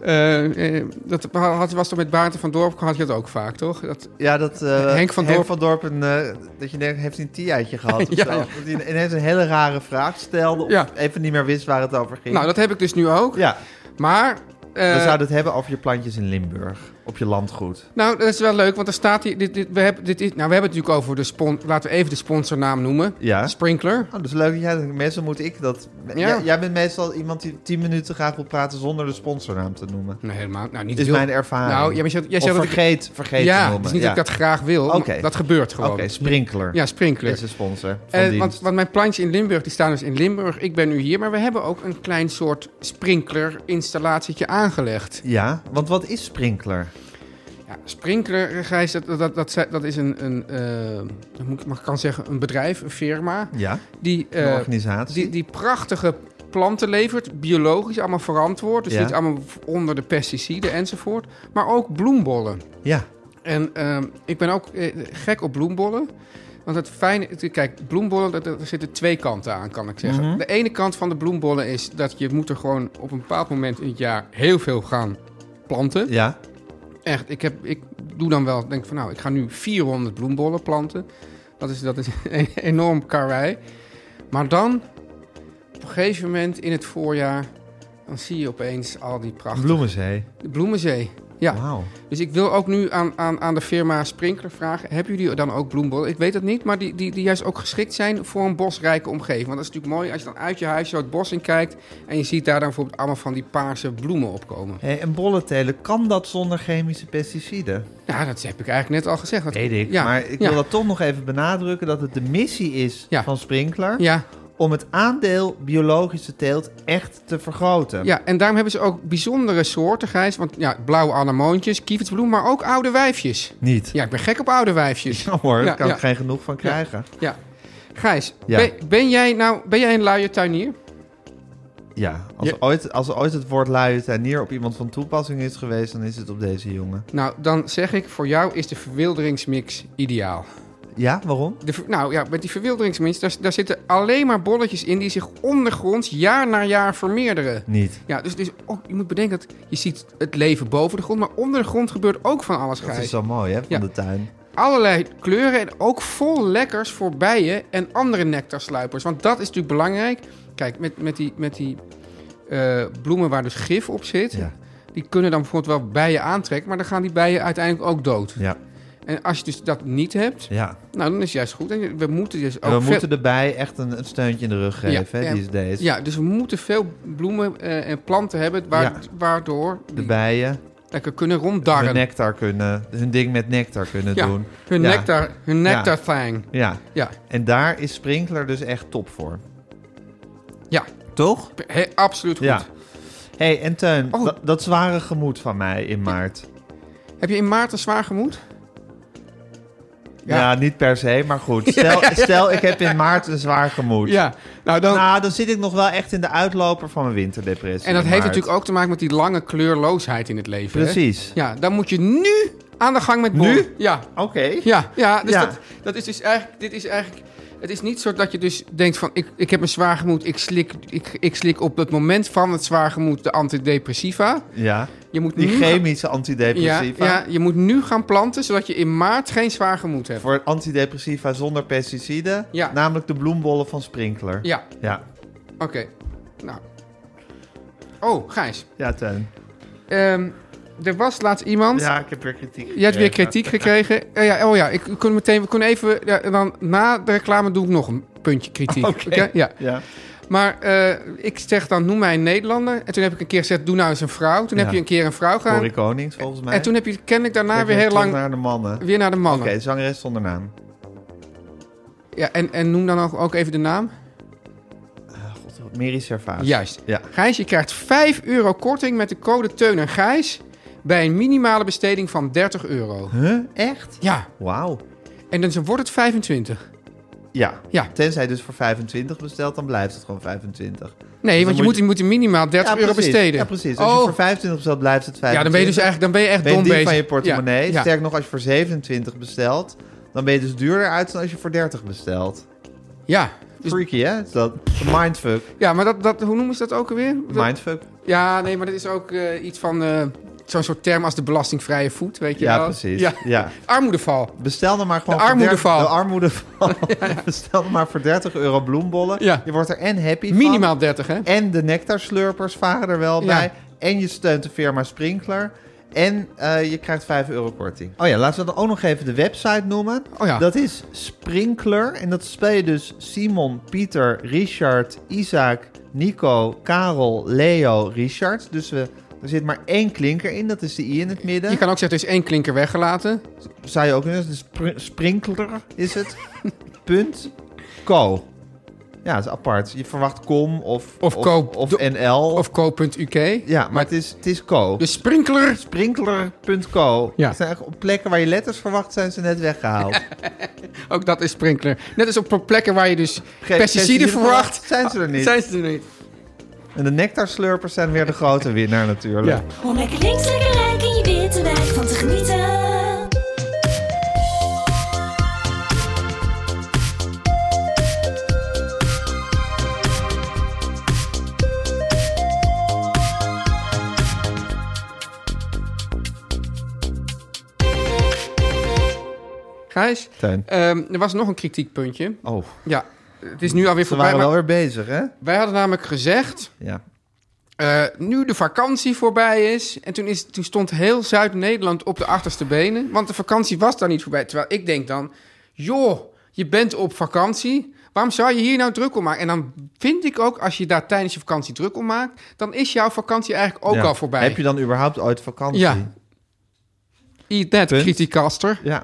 S3: eh, eh, dat had, was toch met Baarten van Dorp, had je dat ook vaak, toch? Dat,
S2: Ja, dat eh,
S3: Henk van Dorp-
S2: een, eh, dat je denkt, heeft hij een theeitje gehad of
S3: Ja,
S2: zo?
S3: ja.
S2: Dat hij ineens een hele rare vraag stelde of
S3: Ja.
S2: even niet meer wist waar het over ging.
S3: nou, dat heb ik dus nu ook.
S2: Ja,
S3: Maar. eh,
S2: we zouden het hebben over je plantjes in Limburg, op je landgoed.
S3: Nou, dat is wel leuk, want er staat hier. Dit, dit, we hebben, dit, is- nou, we hebben het natuurlijk over de spon. Laten we even de sponsornaam noemen:
S2: Ja.
S3: Sprinkler.
S2: Oh, dat is leuk. dat jij dat- meestal moet ik dat... Jij, jij bent meestal iemand die 10 minuten graag wil praten zonder de sponsornaam te noemen.
S3: Nee, helemaal. Nou, niet
S2: Is
S3: heel-
S2: mijn ervaring.
S3: Nou, jij, maar je- jij
S2: of
S3: zegt dat ik-
S2: vergeet, vergeet te
S3: ja,
S2: noemen.
S3: het is niet dat ik dat graag wil. maar
S2: Oké.
S3: Dat gebeurt gewoon.
S2: Oké, Sprinkler
S3: Ja, Sprinkler.
S2: is de sponsor van
S3: Eh,
S2: dienst.
S3: want, want mijn plantjes in Limburg, die staan dus in Limburg. Ik ben nu hier, maar we hebben ook een klein soort sprinkler-installatietje aangelegd.
S2: Ja, want wat is Sprinkler?
S3: Ja, sprinkler, eh, Gijs, dat, dat, dat, zijn- dat is een, een eh, dat moet ik mag ik kan zeggen, een bedrijf, een firma,
S2: Ja,
S3: die,
S2: een
S3: eh,
S2: organisatie.
S3: die, die prachtige planten levert, biologisch, allemaal verantwoord. Dus
S2: Ja.
S3: niet allemaal onder de pesticiden enzovoort. Maar ook bloembollen.
S2: Ja,
S3: En ehm, ik ben ook eh, gek op bloembollen. Want het fijne, het- kijk, bloembollen, dat- dat- er zitten twee kanten aan, kan ik zeggen.
S2: Mhm.
S3: De ene kant van de bloembollen is dat je moet er gewoon op een bepaald moment in het jaar heel veel gaan planten.
S2: ja.
S3: Echt, ik, heb, ik doe dan wel, denk van nou, ik ga nu 400 bloembollen planten. Dat is, dat is een enorm karwei. Maar dan een gegeven moment in het voorjaar, dan zie je opeens al die prachtige...
S2: Bloemenzee.
S3: De bloemenzee. Ja,
S2: Wauw.
S3: dus ik wil ook nu aan, aan, aan de firma Sprinkler vragen... hebben jullie dan ook bloembollen? Ik weet het niet, maar die, die, die juist ook geschikt zijn voor een bosrijke omgeving. Want dat is natuurlijk mooi als je dan uit je huis zo het bos in kijkt... en je ziet daar dan bijvoorbeeld allemaal van die paarse bloemen opkomen.
S2: Hey, en bollen telen, kan dat zonder chemische pesticiden?
S3: Ja, dat heb ik eigenlijk net al gezegd. Dat-
S2: Weet ik.
S3: Ja,
S2: Maar ik
S3: ja,
S2: wil dat toch nog even benadrukken dat het de missie is
S3: Ja.
S2: van Sprinkler...
S3: Ja,
S2: om het aandeel biologische teelt echt te vergroten.
S3: Ja, en daarom hebben ze ook bijzondere soorten, Gijs. Want ja, blauwe anemoontjes, kievitsbloem, maar ook oude wijfjes.
S2: Niet.
S3: Ja, ik ben gek op oude wijfjes.
S2: Ja, hoor,
S3: Ja,
S2: daar kan
S3: ja.
S2: ik geen genoeg van krijgen.
S3: Ja. Gijs,
S2: Ja.
S3: Ben, ben jij nou ben jij een luie tuinier?
S2: Ja, als,
S3: Ja.
S2: Ooit, als ooit het woord luie tuinier op iemand van toepassing is geweest, dan is het op deze jongen.
S3: Nou, dan zeg ik, voor jou is de verwilderingsmix ideaal.
S2: Ja, waarom?
S3: De, ver- nou ja, met die verwilderingsmix, daar, daar zitten alleen maar bolletjes in die zich ondergronds jaar na jaar vermeerderen.
S2: Niet.
S3: Ja, dus, dus ook, je moet bedenken dat je ziet het leven boven de grond, maar onder de grond gebeurt ook van alles,
S2: Dat
S3: Gijs.
S2: is zo mooi, hè, van
S3: Ja.
S2: de tuin.
S3: allerlei kleuren en ook vol lekkers voor bijen en andere nectarsluipers. Want dat is natuurlijk belangrijk. Kijk, met, met die, met die eh, bloemen waar dus gif op zit,
S2: Ja.
S3: die kunnen dan bijvoorbeeld wel bijen aantrekken, maar dan gaan die bijen uiteindelijk ook dood.
S2: Ja,
S3: En als je dus dat niet hebt,
S2: ja.
S3: nou dan is het juist goed. En we moeten dus
S2: En
S3: ook
S2: we
S3: veel-
S2: moeten erbij echt een, een steuntje in de rug
S3: Ja,
S2: geven, hè,
S3: en-
S2: die is deze.
S3: Ja, dus we moeten veel bloemen eh, en planten hebben waar-
S2: Ja.
S3: waardoor
S2: De
S3: die
S2: bijen
S3: lekker kunnen
S2: hun
S3: ronddarren.
S2: nectar kunnen, hun ding met nectar kunnen
S3: ja,
S2: doen.
S3: hun
S2: Ja.
S3: nectar, hun nectar thang.
S2: Ja,
S3: Ja,
S2: en daar is Sprinkler dus echt top voor.
S3: ja.
S2: Toch?
S3: He- absoluut goed.
S2: Ja. hey, en Teun,
S3: Oh.
S2: dat, dat zware gemoed van mij in maart.
S3: Heb je in maart een zwaar gemoed?
S2: Ja, niet per se, maar goed. Stel, stel ik heb in maart een zwaar gemoed.
S3: Ja, nou dan.
S2: Nou, dan zit ik nog wel echt in de uitloper van mijn winterdepressie.
S3: en dat
S2: in
S3: heeft
S2: maart.
S3: natuurlijk ook te maken met die lange kleurloosheid in het leven. hè?
S2: Precies.
S3: Ja, dan moet je nu aan de gang met bollen.
S2: Nu?
S3: Ja,
S2: Oké.
S3: ja, ja. Dus
S2: Ja.
S3: Dat, dat is dus eigenlijk. Dit is eigenlijk. Het is niet zo dat je dus denkt van ik, ik heb een zwaar gemoed, ik slik, ik, ik slik op het moment van het zwaar gemoed de antidepressiva.
S2: Ja.
S3: Je moet
S2: Die
S3: nu
S2: chemische
S3: gaan, ja,
S2: antidepressiva.
S3: ja, je moet nu gaan planten zodat je in maart geen zwaar gemoed hebt.
S2: Voor antidepressiva zonder pesticiden.
S3: Ja.
S2: Namelijk de bloembollen van Sprinkler.
S3: Ja,
S2: Ja,
S3: oké. Nou. Oh, Gijs.
S2: ja Teun.
S3: Ehm, er was laatst iemand.
S2: Ja, ik heb weer kritiek
S3: Je hebt weer kritiek gekregen. Eh, ja, oh ja, ik, ik kon meteen, we kunnen even. Ja, en dan na de reclame doe ik nog een puntje kritiek.
S2: Oké.
S3: Oké, ja.
S2: Ja.
S3: Maar eh, ik zeg dan, noem mij een Nederlander. En toen heb ik een keer gezegd, doe nou eens een vrouw. Toen
S2: Ja.
S3: heb je een keer een vrouw gedaan.
S2: Corrie Konings, volgens mij.
S3: En toen heb je kennelijk daarna
S2: Kijk,
S3: weer heel
S2: terug
S3: lang
S2: naar de mannen. Oké,
S3: weer naar de mannen.
S2: zangeres zonder naam.
S3: Ja, en, en noem dan ook, ook even de naam.
S2: God, Mary Servaas.
S3: Juist.
S2: Ja.
S3: Gijs, je krijgt 5 euro korting met de code Teun en Gijs. Bij een minimale besteding van 30 euro.
S2: Huh? Echt?
S3: Ja,
S2: Wauw.
S3: en dan wordt het 25.
S2: Ja.
S3: Ja.
S2: Tenzij dus voor 25 bestelt, dan blijft het gewoon 25. Dus
S3: Nee,
S2: dan
S3: want je
S2: moet
S3: moet,
S2: je-
S3: je moet minimaal 30 euro
S2: precies.
S3: besteden.
S2: Ja, precies. Als je
S3: Oh,
S2: voor 25 bestelt, blijft het 25.
S3: Ja, dan ben je dus eigenlijk dan ben je echt
S2: Ben je
S3: dom
S2: dief
S3: bezig.
S2: van je portemonnee.
S3: Ja, ja.
S2: Sterker nog, als je voor 27 bestelt, dan ben je dus duurder uit dan als je voor 30 bestelt.
S3: Ja. Dus-
S2: Freaky, hè? Is dat mindfuck.
S3: ja, maar dat, dat, hoe noemen ze dat ook alweer? Dat-
S2: Mindfuck.
S3: Ja, nee, maar dat is ook eh, iets van eh, zo'n soort term als de belastingvrije voet, weet je
S2: Ja,
S3: wel?
S2: precies.
S3: Ja.
S2: Ja.
S3: Armoedeval.
S2: Bestel dan maar gewoon
S3: De armoedeval.
S2: Voor 30 de armoedeval. Bestel dan maar voor 30 euro bloembollen.
S3: Ja.
S2: Je wordt er en happy van.
S3: Minimaal 30, hè?
S2: En de nectarslurpers varen er wel
S3: Ja.
S2: bij. En je steunt de firma Sprinkler. En eh, je krijgt 5 euro korting. Oh ja, laten we dan ook nog even de website noemen.
S3: Oh ja.
S2: Dat is Sprinkler. En dat speel je dus Simon, Pieter, Richard, Isaac, Nico, Karel, Leo, Richard. Dus we, er zit maar één klinker in. Dat is de I in het midden.
S3: Je kan ook zeggen, er is één klinker weggelaten.
S2: Zou je ook kunnen zeggen. Spr- Sprinkler is het. Punt. Co. Ja, dat is apart. Je verwacht com of,
S3: Of koop.
S2: of
S3: Do-
S2: NL.
S3: Of co.uk.
S2: Ja, maar, het, is, het is co.
S3: De sprinkler.
S2: Sprinkler.co.
S3: Dus- Ja.
S2: Het zijn echt op plekken waar je letters verwacht zijn ze net weggehaald.
S3: Ook dat is sprinkler. Net als op plekken waar je dus pesticiden,
S2: pesticiden
S3: verwacht.
S2: zijn ze er niet.
S3: Zijn ze er niet.
S2: en de nectarslurpers zijn weer de grote winnaar natuurlijk.
S3: Ja.
S5: Om lekker links, lekker rijk in je witte wijk van te genieten.
S3: Gijs,
S2: Teun.
S3: ehm, er was nog een kritiekpuntje.
S2: Oh,
S3: Ja. het is nu alweer
S2: Ze
S3: voorbij.
S2: waren wel
S3: Maar
S2: weer bezig, hè?
S3: wij hadden namelijk gezegd,
S2: Ja.
S3: eh, nu de vakantie voorbij is... en toen, is, toen stond heel Zuid-Nederland op de achterste benen... want de vakantie was daar niet voorbij. Terwijl ik denk dan, joh, je bent op vakantie... Waarom zou je hier nou druk om maken? En dan vind ik ook, als je daar tijdens je vakantie druk om maakt... dan is jouw vakantie eigenlijk ook
S2: Ja.
S3: al voorbij.
S2: Heb je dan überhaupt ooit vakantie?
S3: Ja. Eat that,
S2: Punt.
S3: criticaster.
S2: Ja.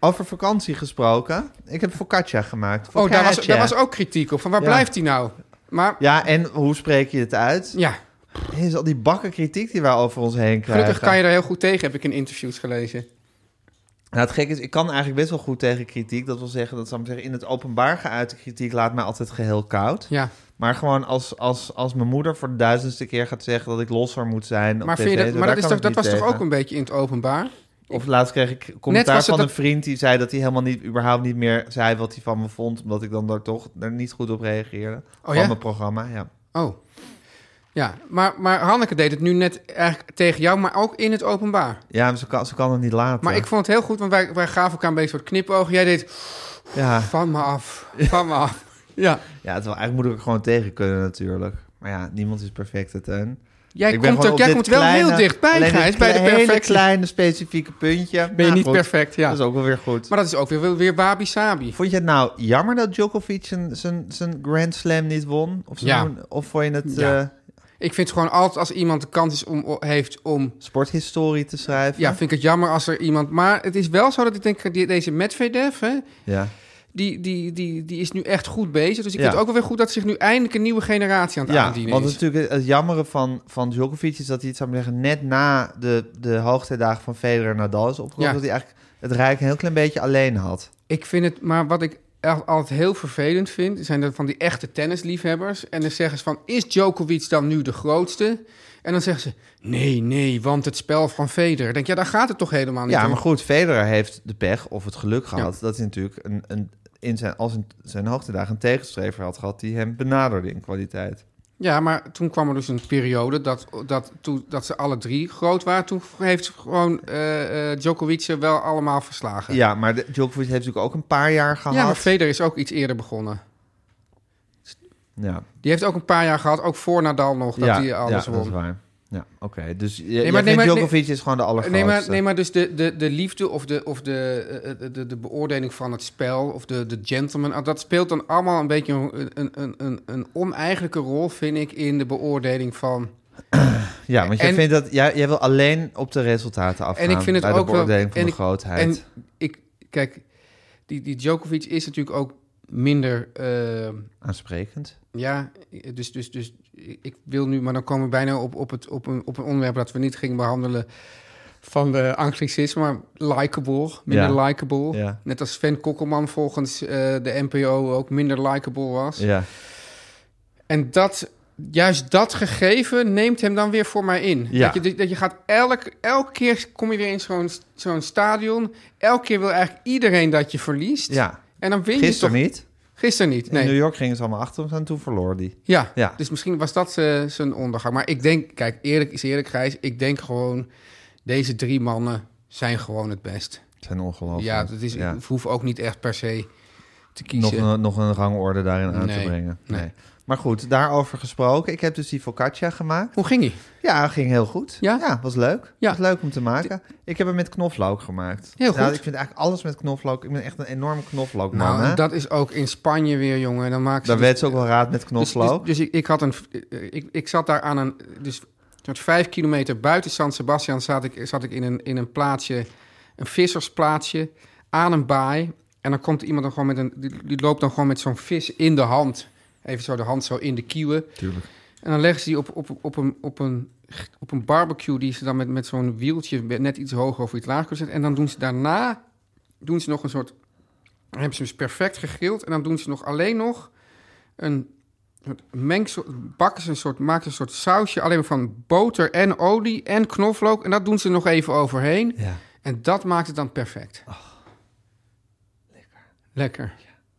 S2: Over vakantie gesproken. Ik heb focaccia gemaakt.
S3: Oh, daar was,
S2: Focaccia.
S3: daar was ook kritiek op. Van waar
S2: Ja.
S3: blijft hij nou? Maar
S2: Ja, en hoe spreek je het uit?
S3: ja,
S2: Is al die bakken kritiek die wij over ons heen krijgen.
S3: gelukkig kan je daar heel goed tegen, heb ik in interviews gelezen.
S2: Nou, het gekke is, ik kan eigenlijk best wel goed tegen kritiek. Dat wil zeggen, dat zou ik zeggen, in het openbaar geuite kritiek laat mij altijd geheel koud.
S3: Ja.
S2: Maar gewoon als, als, als mijn moeder voor de duizendste keer gaat zeggen dat ik losser moet zijn op
S3: Maar,
S2: tv,
S3: vind je dat,
S2: zo,
S3: maar
S2: daar
S3: dat, is
S2: kan
S3: toch,
S2: ik
S3: dat
S2: niet
S3: was toch
S2: tegen.
S3: ook een beetje in het openbaar?
S2: Of laatst kreeg ik commentaar
S3: was het
S2: van een
S3: dat-
S2: vriend die zei dat hij helemaal niet, überhaupt niet meer zei wat hij van me vond, omdat ik dan daar toch daar niet goed op reageerde. van
S3: Oh ja?
S2: mijn programma, ja.
S3: Oh. Ja, maar, maar Hanneke deed het nu net eigenlijk tegen jou, maar ook in het openbaar.
S2: Ja, maar ze kan, ze kan het niet laten.
S3: Maar ik vond het heel goed, want wij, wij gaven elkaar een beetje soort knipogen. Jij deed
S2: Ah. ja,
S3: van me af, van me af. Ja,
S2: ja, terwijl eigenlijk moet ik er gewoon tegen kunnen natuurlijk. Maar ja, niemand is perfecte teun.
S3: jij
S2: Ik ben
S3: komt,
S2: gewoon
S3: ook,
S2: op
S3: jij
S2: dit
S3: komt wel heel
S2: kleine-
S3: dichtbij,
S2: alleen dit
S3: Gijs, bij de
S2: kle- hele
S3: perfectie.
S2: kleine specifieke puntje.
S3: Ben je
S2: Nou,
S3: niet
S2: goed.
S3: perfect, ja.
S2: Dat is ook wel weer goed.
S3: Maar dat is ook weer, weer wabi-sabi.
S2: Vond je het nou jammer dat Djokovic zijn, zijn, zijn Grand Slam niet won? Of,
S3: Ja.
S2: zijn- of vond je het
S3: Ja.
S2: eh,
S3: Ik vind het gewoon altijd als iemand de kans is om, heeft om...
S2: sporthistorie te schrijven?
S3: Ja, vind ik het jammer als er iemand... Maar het is wel zo dat ik denk, die- deze Medvedev, hè,
S2: Ja.
S3: die, die, die, die is nu echt goed bezig. Dus
S2: Ja.
S3: ik vind het ook wel weer goed dat zich nu eindelijk een nieuwe generatie aan het
S2: Ja,
S3: aandienen
S2: want
S3: is.
S2: natuurlijk het jammere van, van Djokovic is dat hij, het zou ik maar zeggen, net na de, de hoogtijdagen van Federer en Nadal is opgekomen.
S3: Ja.
S2: Dat hij eigenlijk het Rijk een heel klein beetje alleen had.
S3: Ik vind het, maar wat ik al- altijd heel vervelend vind, zijn dat van die echte tennisliefhebbers. En dan zeggen ze van, is Djokovic dan nu de grootste? En dan zeggen ze, nee, nee, want het spel van Federer. Ik Denk, ja, daar gaat het toch helemaal niet
S2: Ja,
S3: om.
S2: maar goed, Federer heeft de pech of het geluk gehad. Dat hij natuurlijk een, een, in zijn, als in zijn hoogtedagen een tegenstrever had gehad die hem benaderde in kwaliteit.
S3: Ja, maar toen kwam er dus een periode dat, dat, toen, dat ze alle drie groot waren. Toen heeft gewoon eh, eh, Djokovic ze wel allemaal verslagen.
S2: Ja, maar de, Djokovic heeft natuurlijk ook een paar jaar gehad.
S3: Ja, maar Federer is ook iets eerder begonnen.
S2: ja.
S3: Die heeft ook een paar jaar gehad, ook voor Nadal nog, dat
S2: ja,
S3: hij alles
S2: ja,
S3: won.
S2: dat is waar. Ja, oké. Dus je, nee,
S3: maar- nee, maar-
S2: Djokovic is gewoon de allergrootste.
S3: Nee maar, nee, maar dus de, de, de liefde of, de, of de, eh, eh, de, de beoordeling van het spel of de, de gentleman, ah, dat speelt dan allemaal een beetje een, een, een, een, een oneigenlijke rol, vind ik, in de beoordeling van.
S2: Ja, want jij,
S3: En-
S2: vindt dat, jij, jij wil alleen op de resultaten afgaan.
S3: En ik vind het
S2: bij
S3: ook
S2: de
S3: wel.
S2: beoordeling
S3: en
S2: van de
S3: ik-
S2: grootheid.
S3: En ik, kijk, die, die Djokovic is natuurlijk ook minder. eh,
S2: Aansprekend.
S3: ja, dus, dus, dus ik wil nu, maar dan komen we bijna op, op, het, op, een, op een onderwerp dat we niet gingen behandelen. Van de anglicisme, maar likable, minder
S2: Ja.
S3: likable.
S2: Ja.
S3: Net als Sven Kokkelman volgens eh, de NPO ook minder likable was.
S2: Ja.
S3: En dat, juist dat gegeven neemt hem dan weer voor mij in.
S2: Ja.
S3: Dat, je, dat je gaat elk, elke keer kom je weer in zo'n zo'n stadion. Elke keer wil eigenlijk iedereen dat je verliest.
S2: ja.
S3: En dan win je toch...
S2: Gisteren niet.
S3: Gisteren niet,
S2: In New
S3: nee.
S2: York gingen ze allemaal achter hem en toen verloor die.
S3: Ja.
S2: Ja.
S3: dus misschien was dat eh, zijn ondergang. Maar ik denk, kijk, eerlijk is eerlijk, Gijs. Ik denk gewoon, deze drie mannen zijn gewoon het best.
S2: Het zijn ongelooflijk.
S3: ja, dat is,
S2: eh, Ja.
S3: ik hoef ook niet echt per se te
S2: Nog,
S3: kiezen.
S2: een, nog een rangorde daarin aan
S3: Nee.
S2: te brengen.
S3: Nee.
S2: Nee. Maar goed, daarover gesproken. Ik heb dus die focaccia gemaakt.
S3: Hoe ging hij?
S2: Ja, ging heel goed.
S3: Ja?
S2: was leuk.
S3: Ja.
S2: Was leuk om te maken. Ik heb hem met knoflook gemaakt.
S3: Heel
S2: Nou,
S3: goed.
S2: ik vind eigenlijk alles met knoflook. Ik ben echt een enorme knoflookman.
S3: Nou,
S2: hè?
S3: dat is ook in Spanje weer, jongen. Dan maken ze
S2: Daar
S3: dus-
S2: werd ze ook wel raad met
S3: Dus, dus,
S2: knoflook.
S3: dus ik, ik had een. Ik, ik zat daar aan een. Dus tot vijf kilometer buiten San Sebastian zat ik, zat ik in, een, in een plaatsje. Een vissersplaatsje. Aan een baai. En dan komt iemand dan gewoon met een. Die, die loopt dan gewoon met zo'n vis in de hand. Even zo de hand zo in de kieuwen.
S2: Tuurlijk.
S3: En dan leggen ze die op, op, op, een, op, een, op een barbecue die ze dan met, met zo'n wieltje net iets hoger of iets lager kunnen zetten. En dan doen ze daarna doen ze nog een soort. Dan hebben ze dus perfect gegrild. En dan doen ze nog alleen nog een soort mengsel. Bakken ze een soort, maken ze een soort sausje alleen maar van boter en olie en knoflook. En dat doen ze nog even overheen.
S2: Ja.
S3: En dat maakt het dan perfect.
S2: Oh,
S3: lekker. Lekker.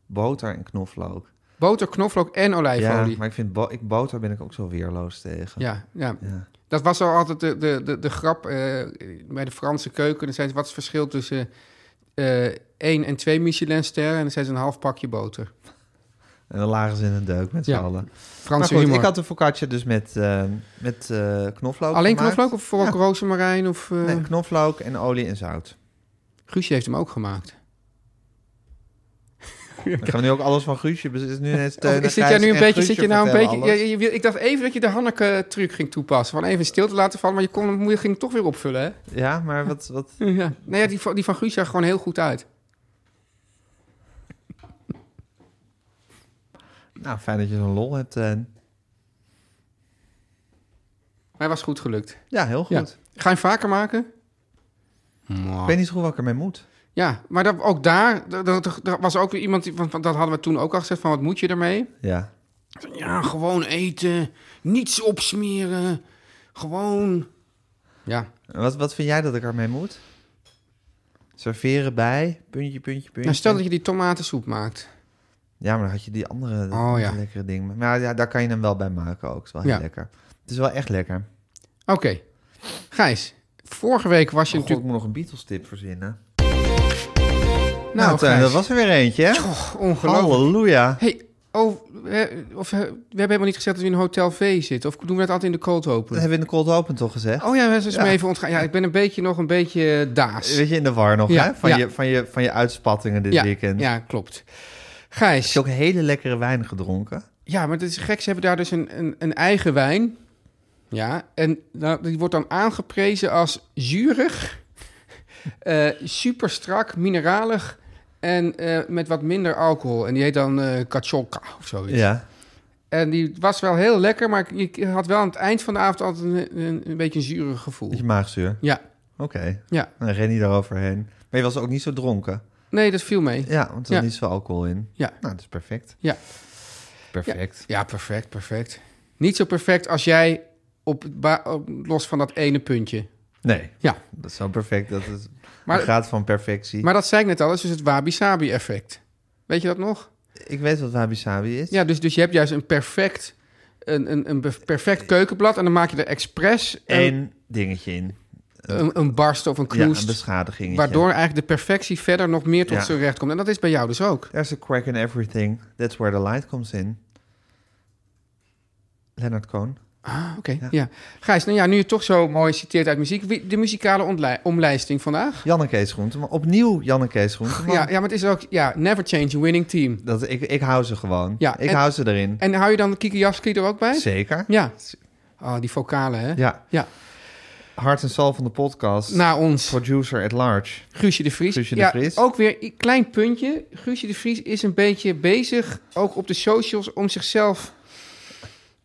S2: Boter en knoflook.
S3: Boter, knoflook en
S2: Ja,
S3: olijfolie.
S2: maar ik vind bo- ik, boter ben ik ook zo weerloos tegen.
S3: Ja, ja.
S2: Ja.
S3: Dat was al altijd de, de, de, de grap eh, bij de Franse keuken. Dan zei ze, wat is het verschil tussen eh één en twee Michelinsterren? En dan zei ze een half pakje boter.
S2: En dan lagen ze in een deuk met z'n
S3: Ja,
S2: allen. Maar
S3: Franse
S2: goed,
S3: humor.
S2: ik had een focaccia dus met, eh, met eh, knoflook
S3: Alleen
S2: gemaakt.
S3: knoflook of voor
S2: Ja.
S3: rozemarijn of... eh
S2: Nee, knoflook en olie en zout.
S3: Guusje heeft hem ook
S2: Eh,
S3: gemaakt.
S2: Dan gaan we nu ook alles van Guusje. dus het is nu net
S3: Of
S2: Teun en
S3: zit jij
S2: Gijs
S3: nu een
S2: en
S3: beetje...
S2: Guusje
S3: Zit je nou een
S2: vertellen
S3: beetje
S2: alles.
S3: ja, je- je- ik dacht even dat je de Hanneke-truc ging toepassen. Van even stil te laten vallen, maar je, kon, hem- je ging hem toch weer opvullen, hè?
S2: Ja, maar wat... wat...
S3: Ja. Nee, ja, die, van- die van Guus zag gewoon heel goed uit.
S2: Nou, fijn dat je zo'n lol hebt. eh. Teun.
S3: Hij was goed gelukt.
S2: Ja, heel goed.
S3: Ja. Ga je hem vaker maken?
S2: Ik weet niet zo goed wat ik ermee moet.
S3: Ja, maar dat, ook daar dat, dat- dat was ook weer iemand... Die, want want dat hadden we toen ook al gezegd, van wat moet je ermee?
S2: Ja.
S3: Ja, gewoon eten. Niets opsmeren. Gewoon... Ja,
S2: En Wat, wat vind jij dat ik ermee moet? Serveren bij, puntje, puntje, puntje.
S3: nou, stel dat je die tomatensoep maakt.
S2: Ja, maar dan had je die andere dat
S3: Oh,
S2: andere
S3: ja.
S2: lekkere ding. Maar ja, daar kan je hem wel bij maken ook. Het is wel heel
S3: Ja.
S2: lekker. Het is wel echt lekker. Oh,
S3: Oké. Gijs, vorige week was je
S2: Oh, God, ik
S3: natuurlijk...
S2: moet nog een Beatles tip verzinnen.
S3: Nou,
S2: Nou, Teun,
S3: Gijs, Oh,
S2: dat was er weer eentje, hè?
S3: toch ongelooflijk.
S2: Halleluja.
S3: hey, oh, we, of, eh, we hebben helemaal niet gezegd dat we in Hotel V zitten. Of doen we dat altijd in de cold
S2: Dat
S3: open?
S2: hebben we in de cold open toch gezegd?
S3: Oh ja, dat is
S2: Ja.
S3: me even ontgaan. Ja, ik ben een beetje nog een beetje eh, daas.
S2: Weet je, in de war nog,
S3: Ja,
S2: hè? Van,
S3: ja.
S2: je, van, je, van je uitspattingen dit
S3: ja,
S2: weekend.
S3: ja, klopt.
S2: Heb
S3: Gijs,
S2: je ook hele lekkere wijn gedronken?
S3: ja, maar het is gek. Ze hebben daar dus een, een, een eigen wijn. Ja, en nou, die wordt dan aangeprezen als zuurig, eh super strak, mineralig en eh, met wat minder alcohol. En die heet dan eh kacholka of zoiets.
S2: Ja.
S3: En die was wel heel lekker, maar ik ik had wel aan het eind van de avond altijd een, een, een beetje een zuurig gevoel.
S2: Met je maagzuur?
S3: Ja,
S2: Oké.
S3: ja.
S2: Dan ren je daaroverheen. Maar je was ook niet zo dronken.
S3: Nee, dat viel mee.
S2: Ja, want er
S3: Ja.
S2: is niet zoveel alcohol in.
S3: Ja.
S2: Nou, dat is perfect.
S3: Ja.
S2: Perfect.
S3: Ja, perfect, perfect. Niet zo perfect als jij op, het ba- op- los van dat ene puntje.
S2: Nee.
S3: Ja.
S2: Dat is zo perfect. Dat is,
S3: Maar-
S2: maar, gaat van perfectie.
S3: Maar dat zei ik net al, dat is dus het wabi-sabi-effect. Weet je dat nog?
S2: ik weet wat wabi-sabi is.
S3: Ja, dus, dus je hebt juist een perfect, een, een, een be- perfect keukenblad... en dan maak je er expres een,
S2: Eén dingetje in.
S3: een, een barst of een
S2: Ja, een
S3: knoest...
S2: beschadiging.
S3: waardoor eigenlijk de perfectie verder nog meer tot
S2: Ja.
S3: zijn recht komt. En dat is bij jou dus ook.
S2: There's a crack in everything. That's where the light comes in. Leonard Cohen.
S3: Ah, oké. Ja. Gijs, nou ja, nu je toch zo mooi citeert uit muziek... wie- de muzikale ontlei- omlijsting vandaag...
S2: Janneke Groenteman. Opnieuw Janneke Groenteman.
S3: Ja, ja, maar het is ook... Ja, never change a winning team.
S2: Dat, ik, ik hou ze gewoon.
S3: Ja,
S2: ik
S3: en-
S2: hou ze erin.
S3: En hou je dan Kiki Jaski er ook bij?
S2: Zeker.
S3: Ja. Oh, die vocalen, hè?
S2: Ja.
S3: Ja.
S2: Hart en zal van de podcast.
S3: Na ons,
S2: Producer at large.
S3: Guusje de Vries.
S2: Guusje de
S3: ja,
S2: Vries.
S3: ook weer een klein puntje. Guusje de Vries is een beetje bezig, ook op de socials, om zichzelf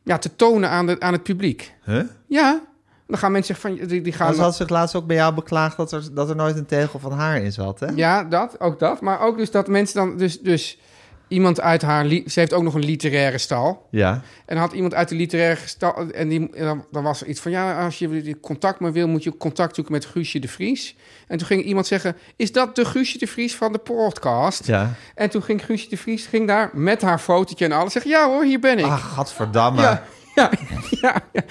S3: ja, te tonen aan, de, aan het publiek.
S2: Huh?
S3: Ja, dan gaan mensen zeggen van... Die, die gaan
S2: Maar ze had zich laatst ook bij jou beklaagd dat er, dat er nooit een tegel van haar in zat, hè?
S3: Ja, dat, ook dat. Maar ook dus dat mensen dan... Dus, dus iemand uit haar... li- Ze heeft ook nog een literaire stal.
S2: Ja.
S3: En had iemand uit de literaire stal... En, die, en dan, dan was er iets van... Ja, als je die contact maar wil, moet je contact zoeken met Guusje de Vries. En toen ging iemand zeggen... Is dat de Guusje de Vries van de podcast?
S2: Ja.
S3: En toen ging Guusje de Vries ging daar met haar fotootje en alles zeggen... Ja hoor, hier ben ik.
S2: Ach, Ah, gadverdamme.
S3: ja, ja, ja, ja.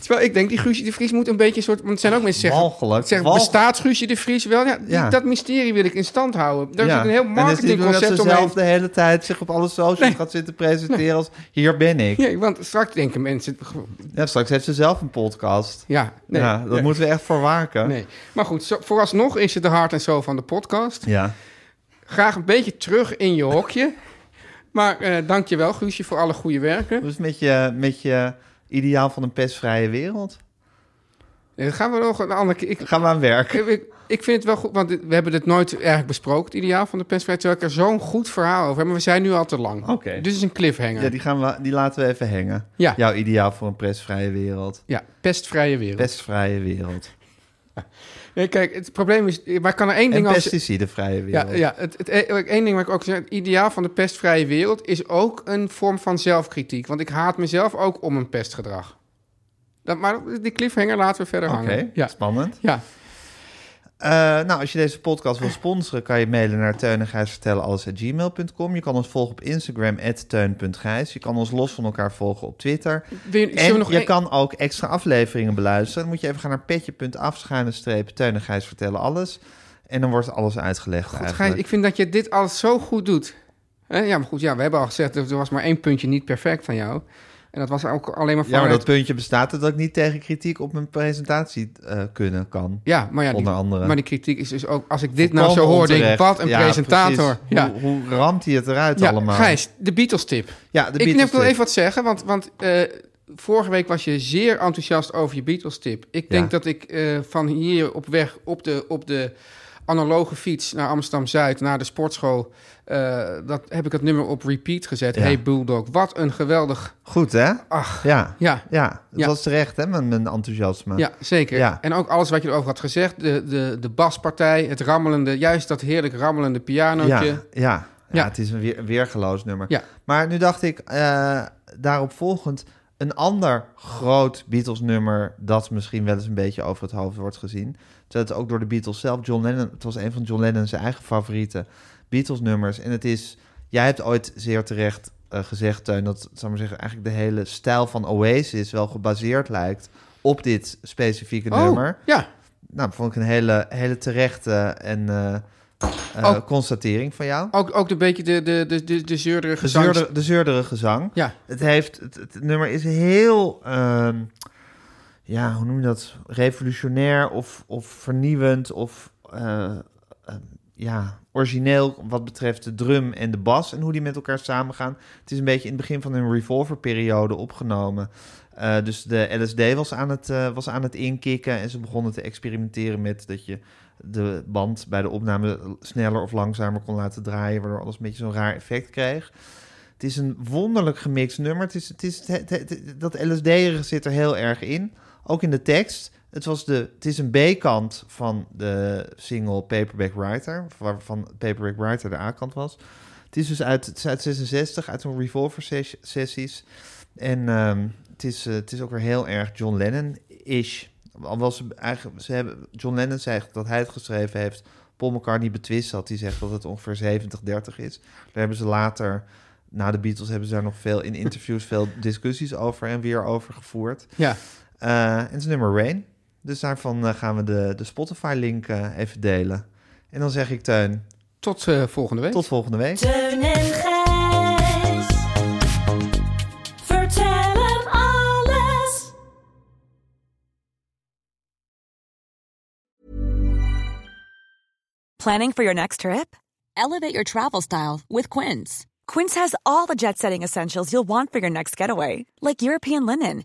S3: Terwijl ik denk, die Guusje de Vries moet een beetje een soort... Want het zijn ook mensen die zeggen...
S2: Walgelijk.
S3: Zeg,
S2: Walg-
S3: bestaat Guusje de Vries wel? Ja, die-
S2: Ja.
S3: Dat mysterie wil ik in stand houden. Daar zit een heel
S2: En het is niet dat
S3: marketingconcept
S2: ze
S3: omheen.
S2: zelf de hele tijd zich op alle socials gaat zitten presenteren als... Hier ben ik.
S3: Ja, want straks denken mensen...
S2: Ja, straks heeft ze zelf een podcast.
S3: Ja, nee,
S2: ja, dat
S3: nee.
S2: moeten we echt voor waken.
S3: Nee. Maar goed, zo- vooralsnog is het de hart en zo van de podcast.
S2: Ja.
S3: Graag een beetje terug in je hokje. Maar eh dank je wel, Guusje, voor alle goede werken.
S2: Dus met je, met je ideaal van een pestvrije wereld.
S3: Nee, dan Eh, gaan we nog een andere keer. Ik,
S2: Gaan we aan werk.
S3: ik- ik, ik vind het wel goed, want we hebben het nooit eigenlijk besproken, het ideaal van de persvrijheid. Terwijl ik er zo'n goed verhaal over heb, maar we zijn nu al te lang.
S2: Oké.
S3: Dus het is een cliffhanger.
S2: Ja,
S3: Ja,
S2: die, gaan we, die laten we even hangen.
S3: Ja.
S2: Jouw ideaal voor een pestvrije wereld.
S3: pestvrije wereld.
S2: Pestvrije wereld.
S3: Nee, kijk, het probleem is, maar ik kan er één
S2: En
S3: ding over
S2: pesticidenvrije
S3: Ja,
S2: wereld.
S3: ja het, het, eh, één ding wat ik ook zeg, het ideaal van de pestvrije wereld is ook een vorm van zelfkritiek. Want ik haat mezelf ook om een pestgedrag. Dat, maar die cliffhanger laten we verder
S2: Oké,
S3: hangen. Ja.
S2: spannend.
S3: ja.
S2: Eh, nou, als je deze podcast wil sponsoren, kan je mailen naar teunengijsvertellenalles.gmail.com. Je kan ons volgen op Instagram, teun.gijs. Je kan ons los van elkaar volgen op Twitter.
S3: Wil je- zullen we
S2: en
S3: nog
S2: je
S3: één-
S2: kan ook extra afleveringen beluisteren. Dan moet je even gaan naar petje.afschuine-streep, Teun en Gijs vertellen alles. En dan wordt alles uitgelegd
S3: Goed, Gijs,
S2: eigenlijk.
S3: ik vind dat je dit alles zo goed doet. Eh, ja, maar goed, ja, we hebben al gezegd, er er was maar één puntje niet perfect van jou. En dat was ook alleen maar
S2: Ja,
S3: vanuit...
S2: maar dat puntje bestaat er dat ik niet tegen kritiek op mijn presentatie eh, kunnen kan.
S3: Ja, maar ja, die,
S2: Onder andere.
S3: maar die kritiek is dus ook... Als ik dit nou zo hoor,
S2: hoorde
S3: denk ik, wat een presentator. Ja.
S2: Hoe, hoe ramt hij het eruit
S3: Ja,
S2: allemaal?
S3: Gijs, de Beatles-tip.
S2: Ja, de
S3: ik
S2: Beatles
S3: neem wil
S2: tip.
S3: even wat zeggen, want, want eh, vorige week was je zeer enthousiast over je Beatles-tip. Ik denk
S2: Ja.
S3: dat ik eh, van hier op weg op de, op de analoge fiets naar Amsterdam-Zuid, naar de sportschool, eh, dat, heb ik het nummer op repeat gezet.
S2: Ja.
S3: Hey Bulldog, wat een geweldig...
S2: Goed, hè?
S3: Ach,
S2: Ja.
S3: ja,
S2: Ja, dat
S3: Ja.
S2: was terecht, hè, mijn, mijn enthousiasme.
S3: ja, zeker.
S2: Ja.
S3: En ook alles wat je erover had gezegd, de, de, de baspartij, het rammelende, juist dat heerlijk rammelende
S2: ja,
S3: pianootje.
S2: ja, ja.
S3: Ja.
S2: het is een weer, weergeloos nummer.
S3: Ja.
S2: Maar nu dacht ik, eh, daarop volgend, een ander groot Beatles-nummer... dat misschien wel eens een beetje over het hoofd wordt gezien. Terwijl het ook door de Beatles zelf, John Lennon... het was een van John Lennon's eigen favoriete Beatles-nummers. En het is, jij hebt ooit zeer terecht eh, gezegd, Teun... dat zou maar zeggen, eigenlijk de hele stijl van Oasis... wel gebaseerd lijkt op dit specifieke
S3: Oh,
S2: nummer.
S3: ja.
S2: Nou, vond ik een hele, hele terechte en, eh, eh,
S3: Ook-
S2: constatering van jou.
S3: Ook, ook een beetje de, de, de, de, de zeurdere
S2: De
S3: gezangs-
S2: zeurder- de zeurderige gezang.
S3: Ja.
S2: Het, heeft, het, het nummer is heel, ehm, ja, hoe noem je dat? Revolutionair of, of vernieuwend of eh, eh, ja, origineel wat betreft de drum en de bas en hoe die met elkaar samengaan. Het is een beetje in het begin van een revolverperiode opgenomen. Eh, dus de LSD was aan, het, eh, was aan het inkikken en ze begonnen te experimenteren met dat je de band bij de opname sneller of langzamer kon laten draaien, waardoor alles een beetje zo'n raar effect kreeg. Het is een wonderlijk gemixt nummer. Het is, het is, het- het- het- dat LSD-erige zit er heel erg in. Ook in de tekst. Het, was de, het is een B-kant van de single Paperback Writer, waarvan Paperback Writer de A-kant was. Het is dus uit, het is uit 66, uit een Revolver-sessies. En ehm, het, is, eh, het is ook weer heel erg John Lennon-ish. Al was ze eigenlijk, ze hebben, John Lennon zegt dat hij het geschreven heeft. Paul McCartney betwist dat. Die zegt dat het ongeveer 70-30 is. Daar hebben ze later, na de Beatles, hebben ze daar nog veel in interviews, veel discussies over en weer over gevoerd.
S3: Ja.
S2: Eh, en het is nummer Rain. Dus daarvan eh, gaan we de, de Spotify-link eh, even delen. En dan zeg ik, Teun,
S3: Tot eh, volgende week.
S2: tot volgende week.
S5: Teun en Gijs. Vertel hem alles.
S1: Planning for your next trip?
S7: Elevate your travel style with Quince.
S1: Quince has all the jet setting essentials you'll want for your next getaway, like European linen,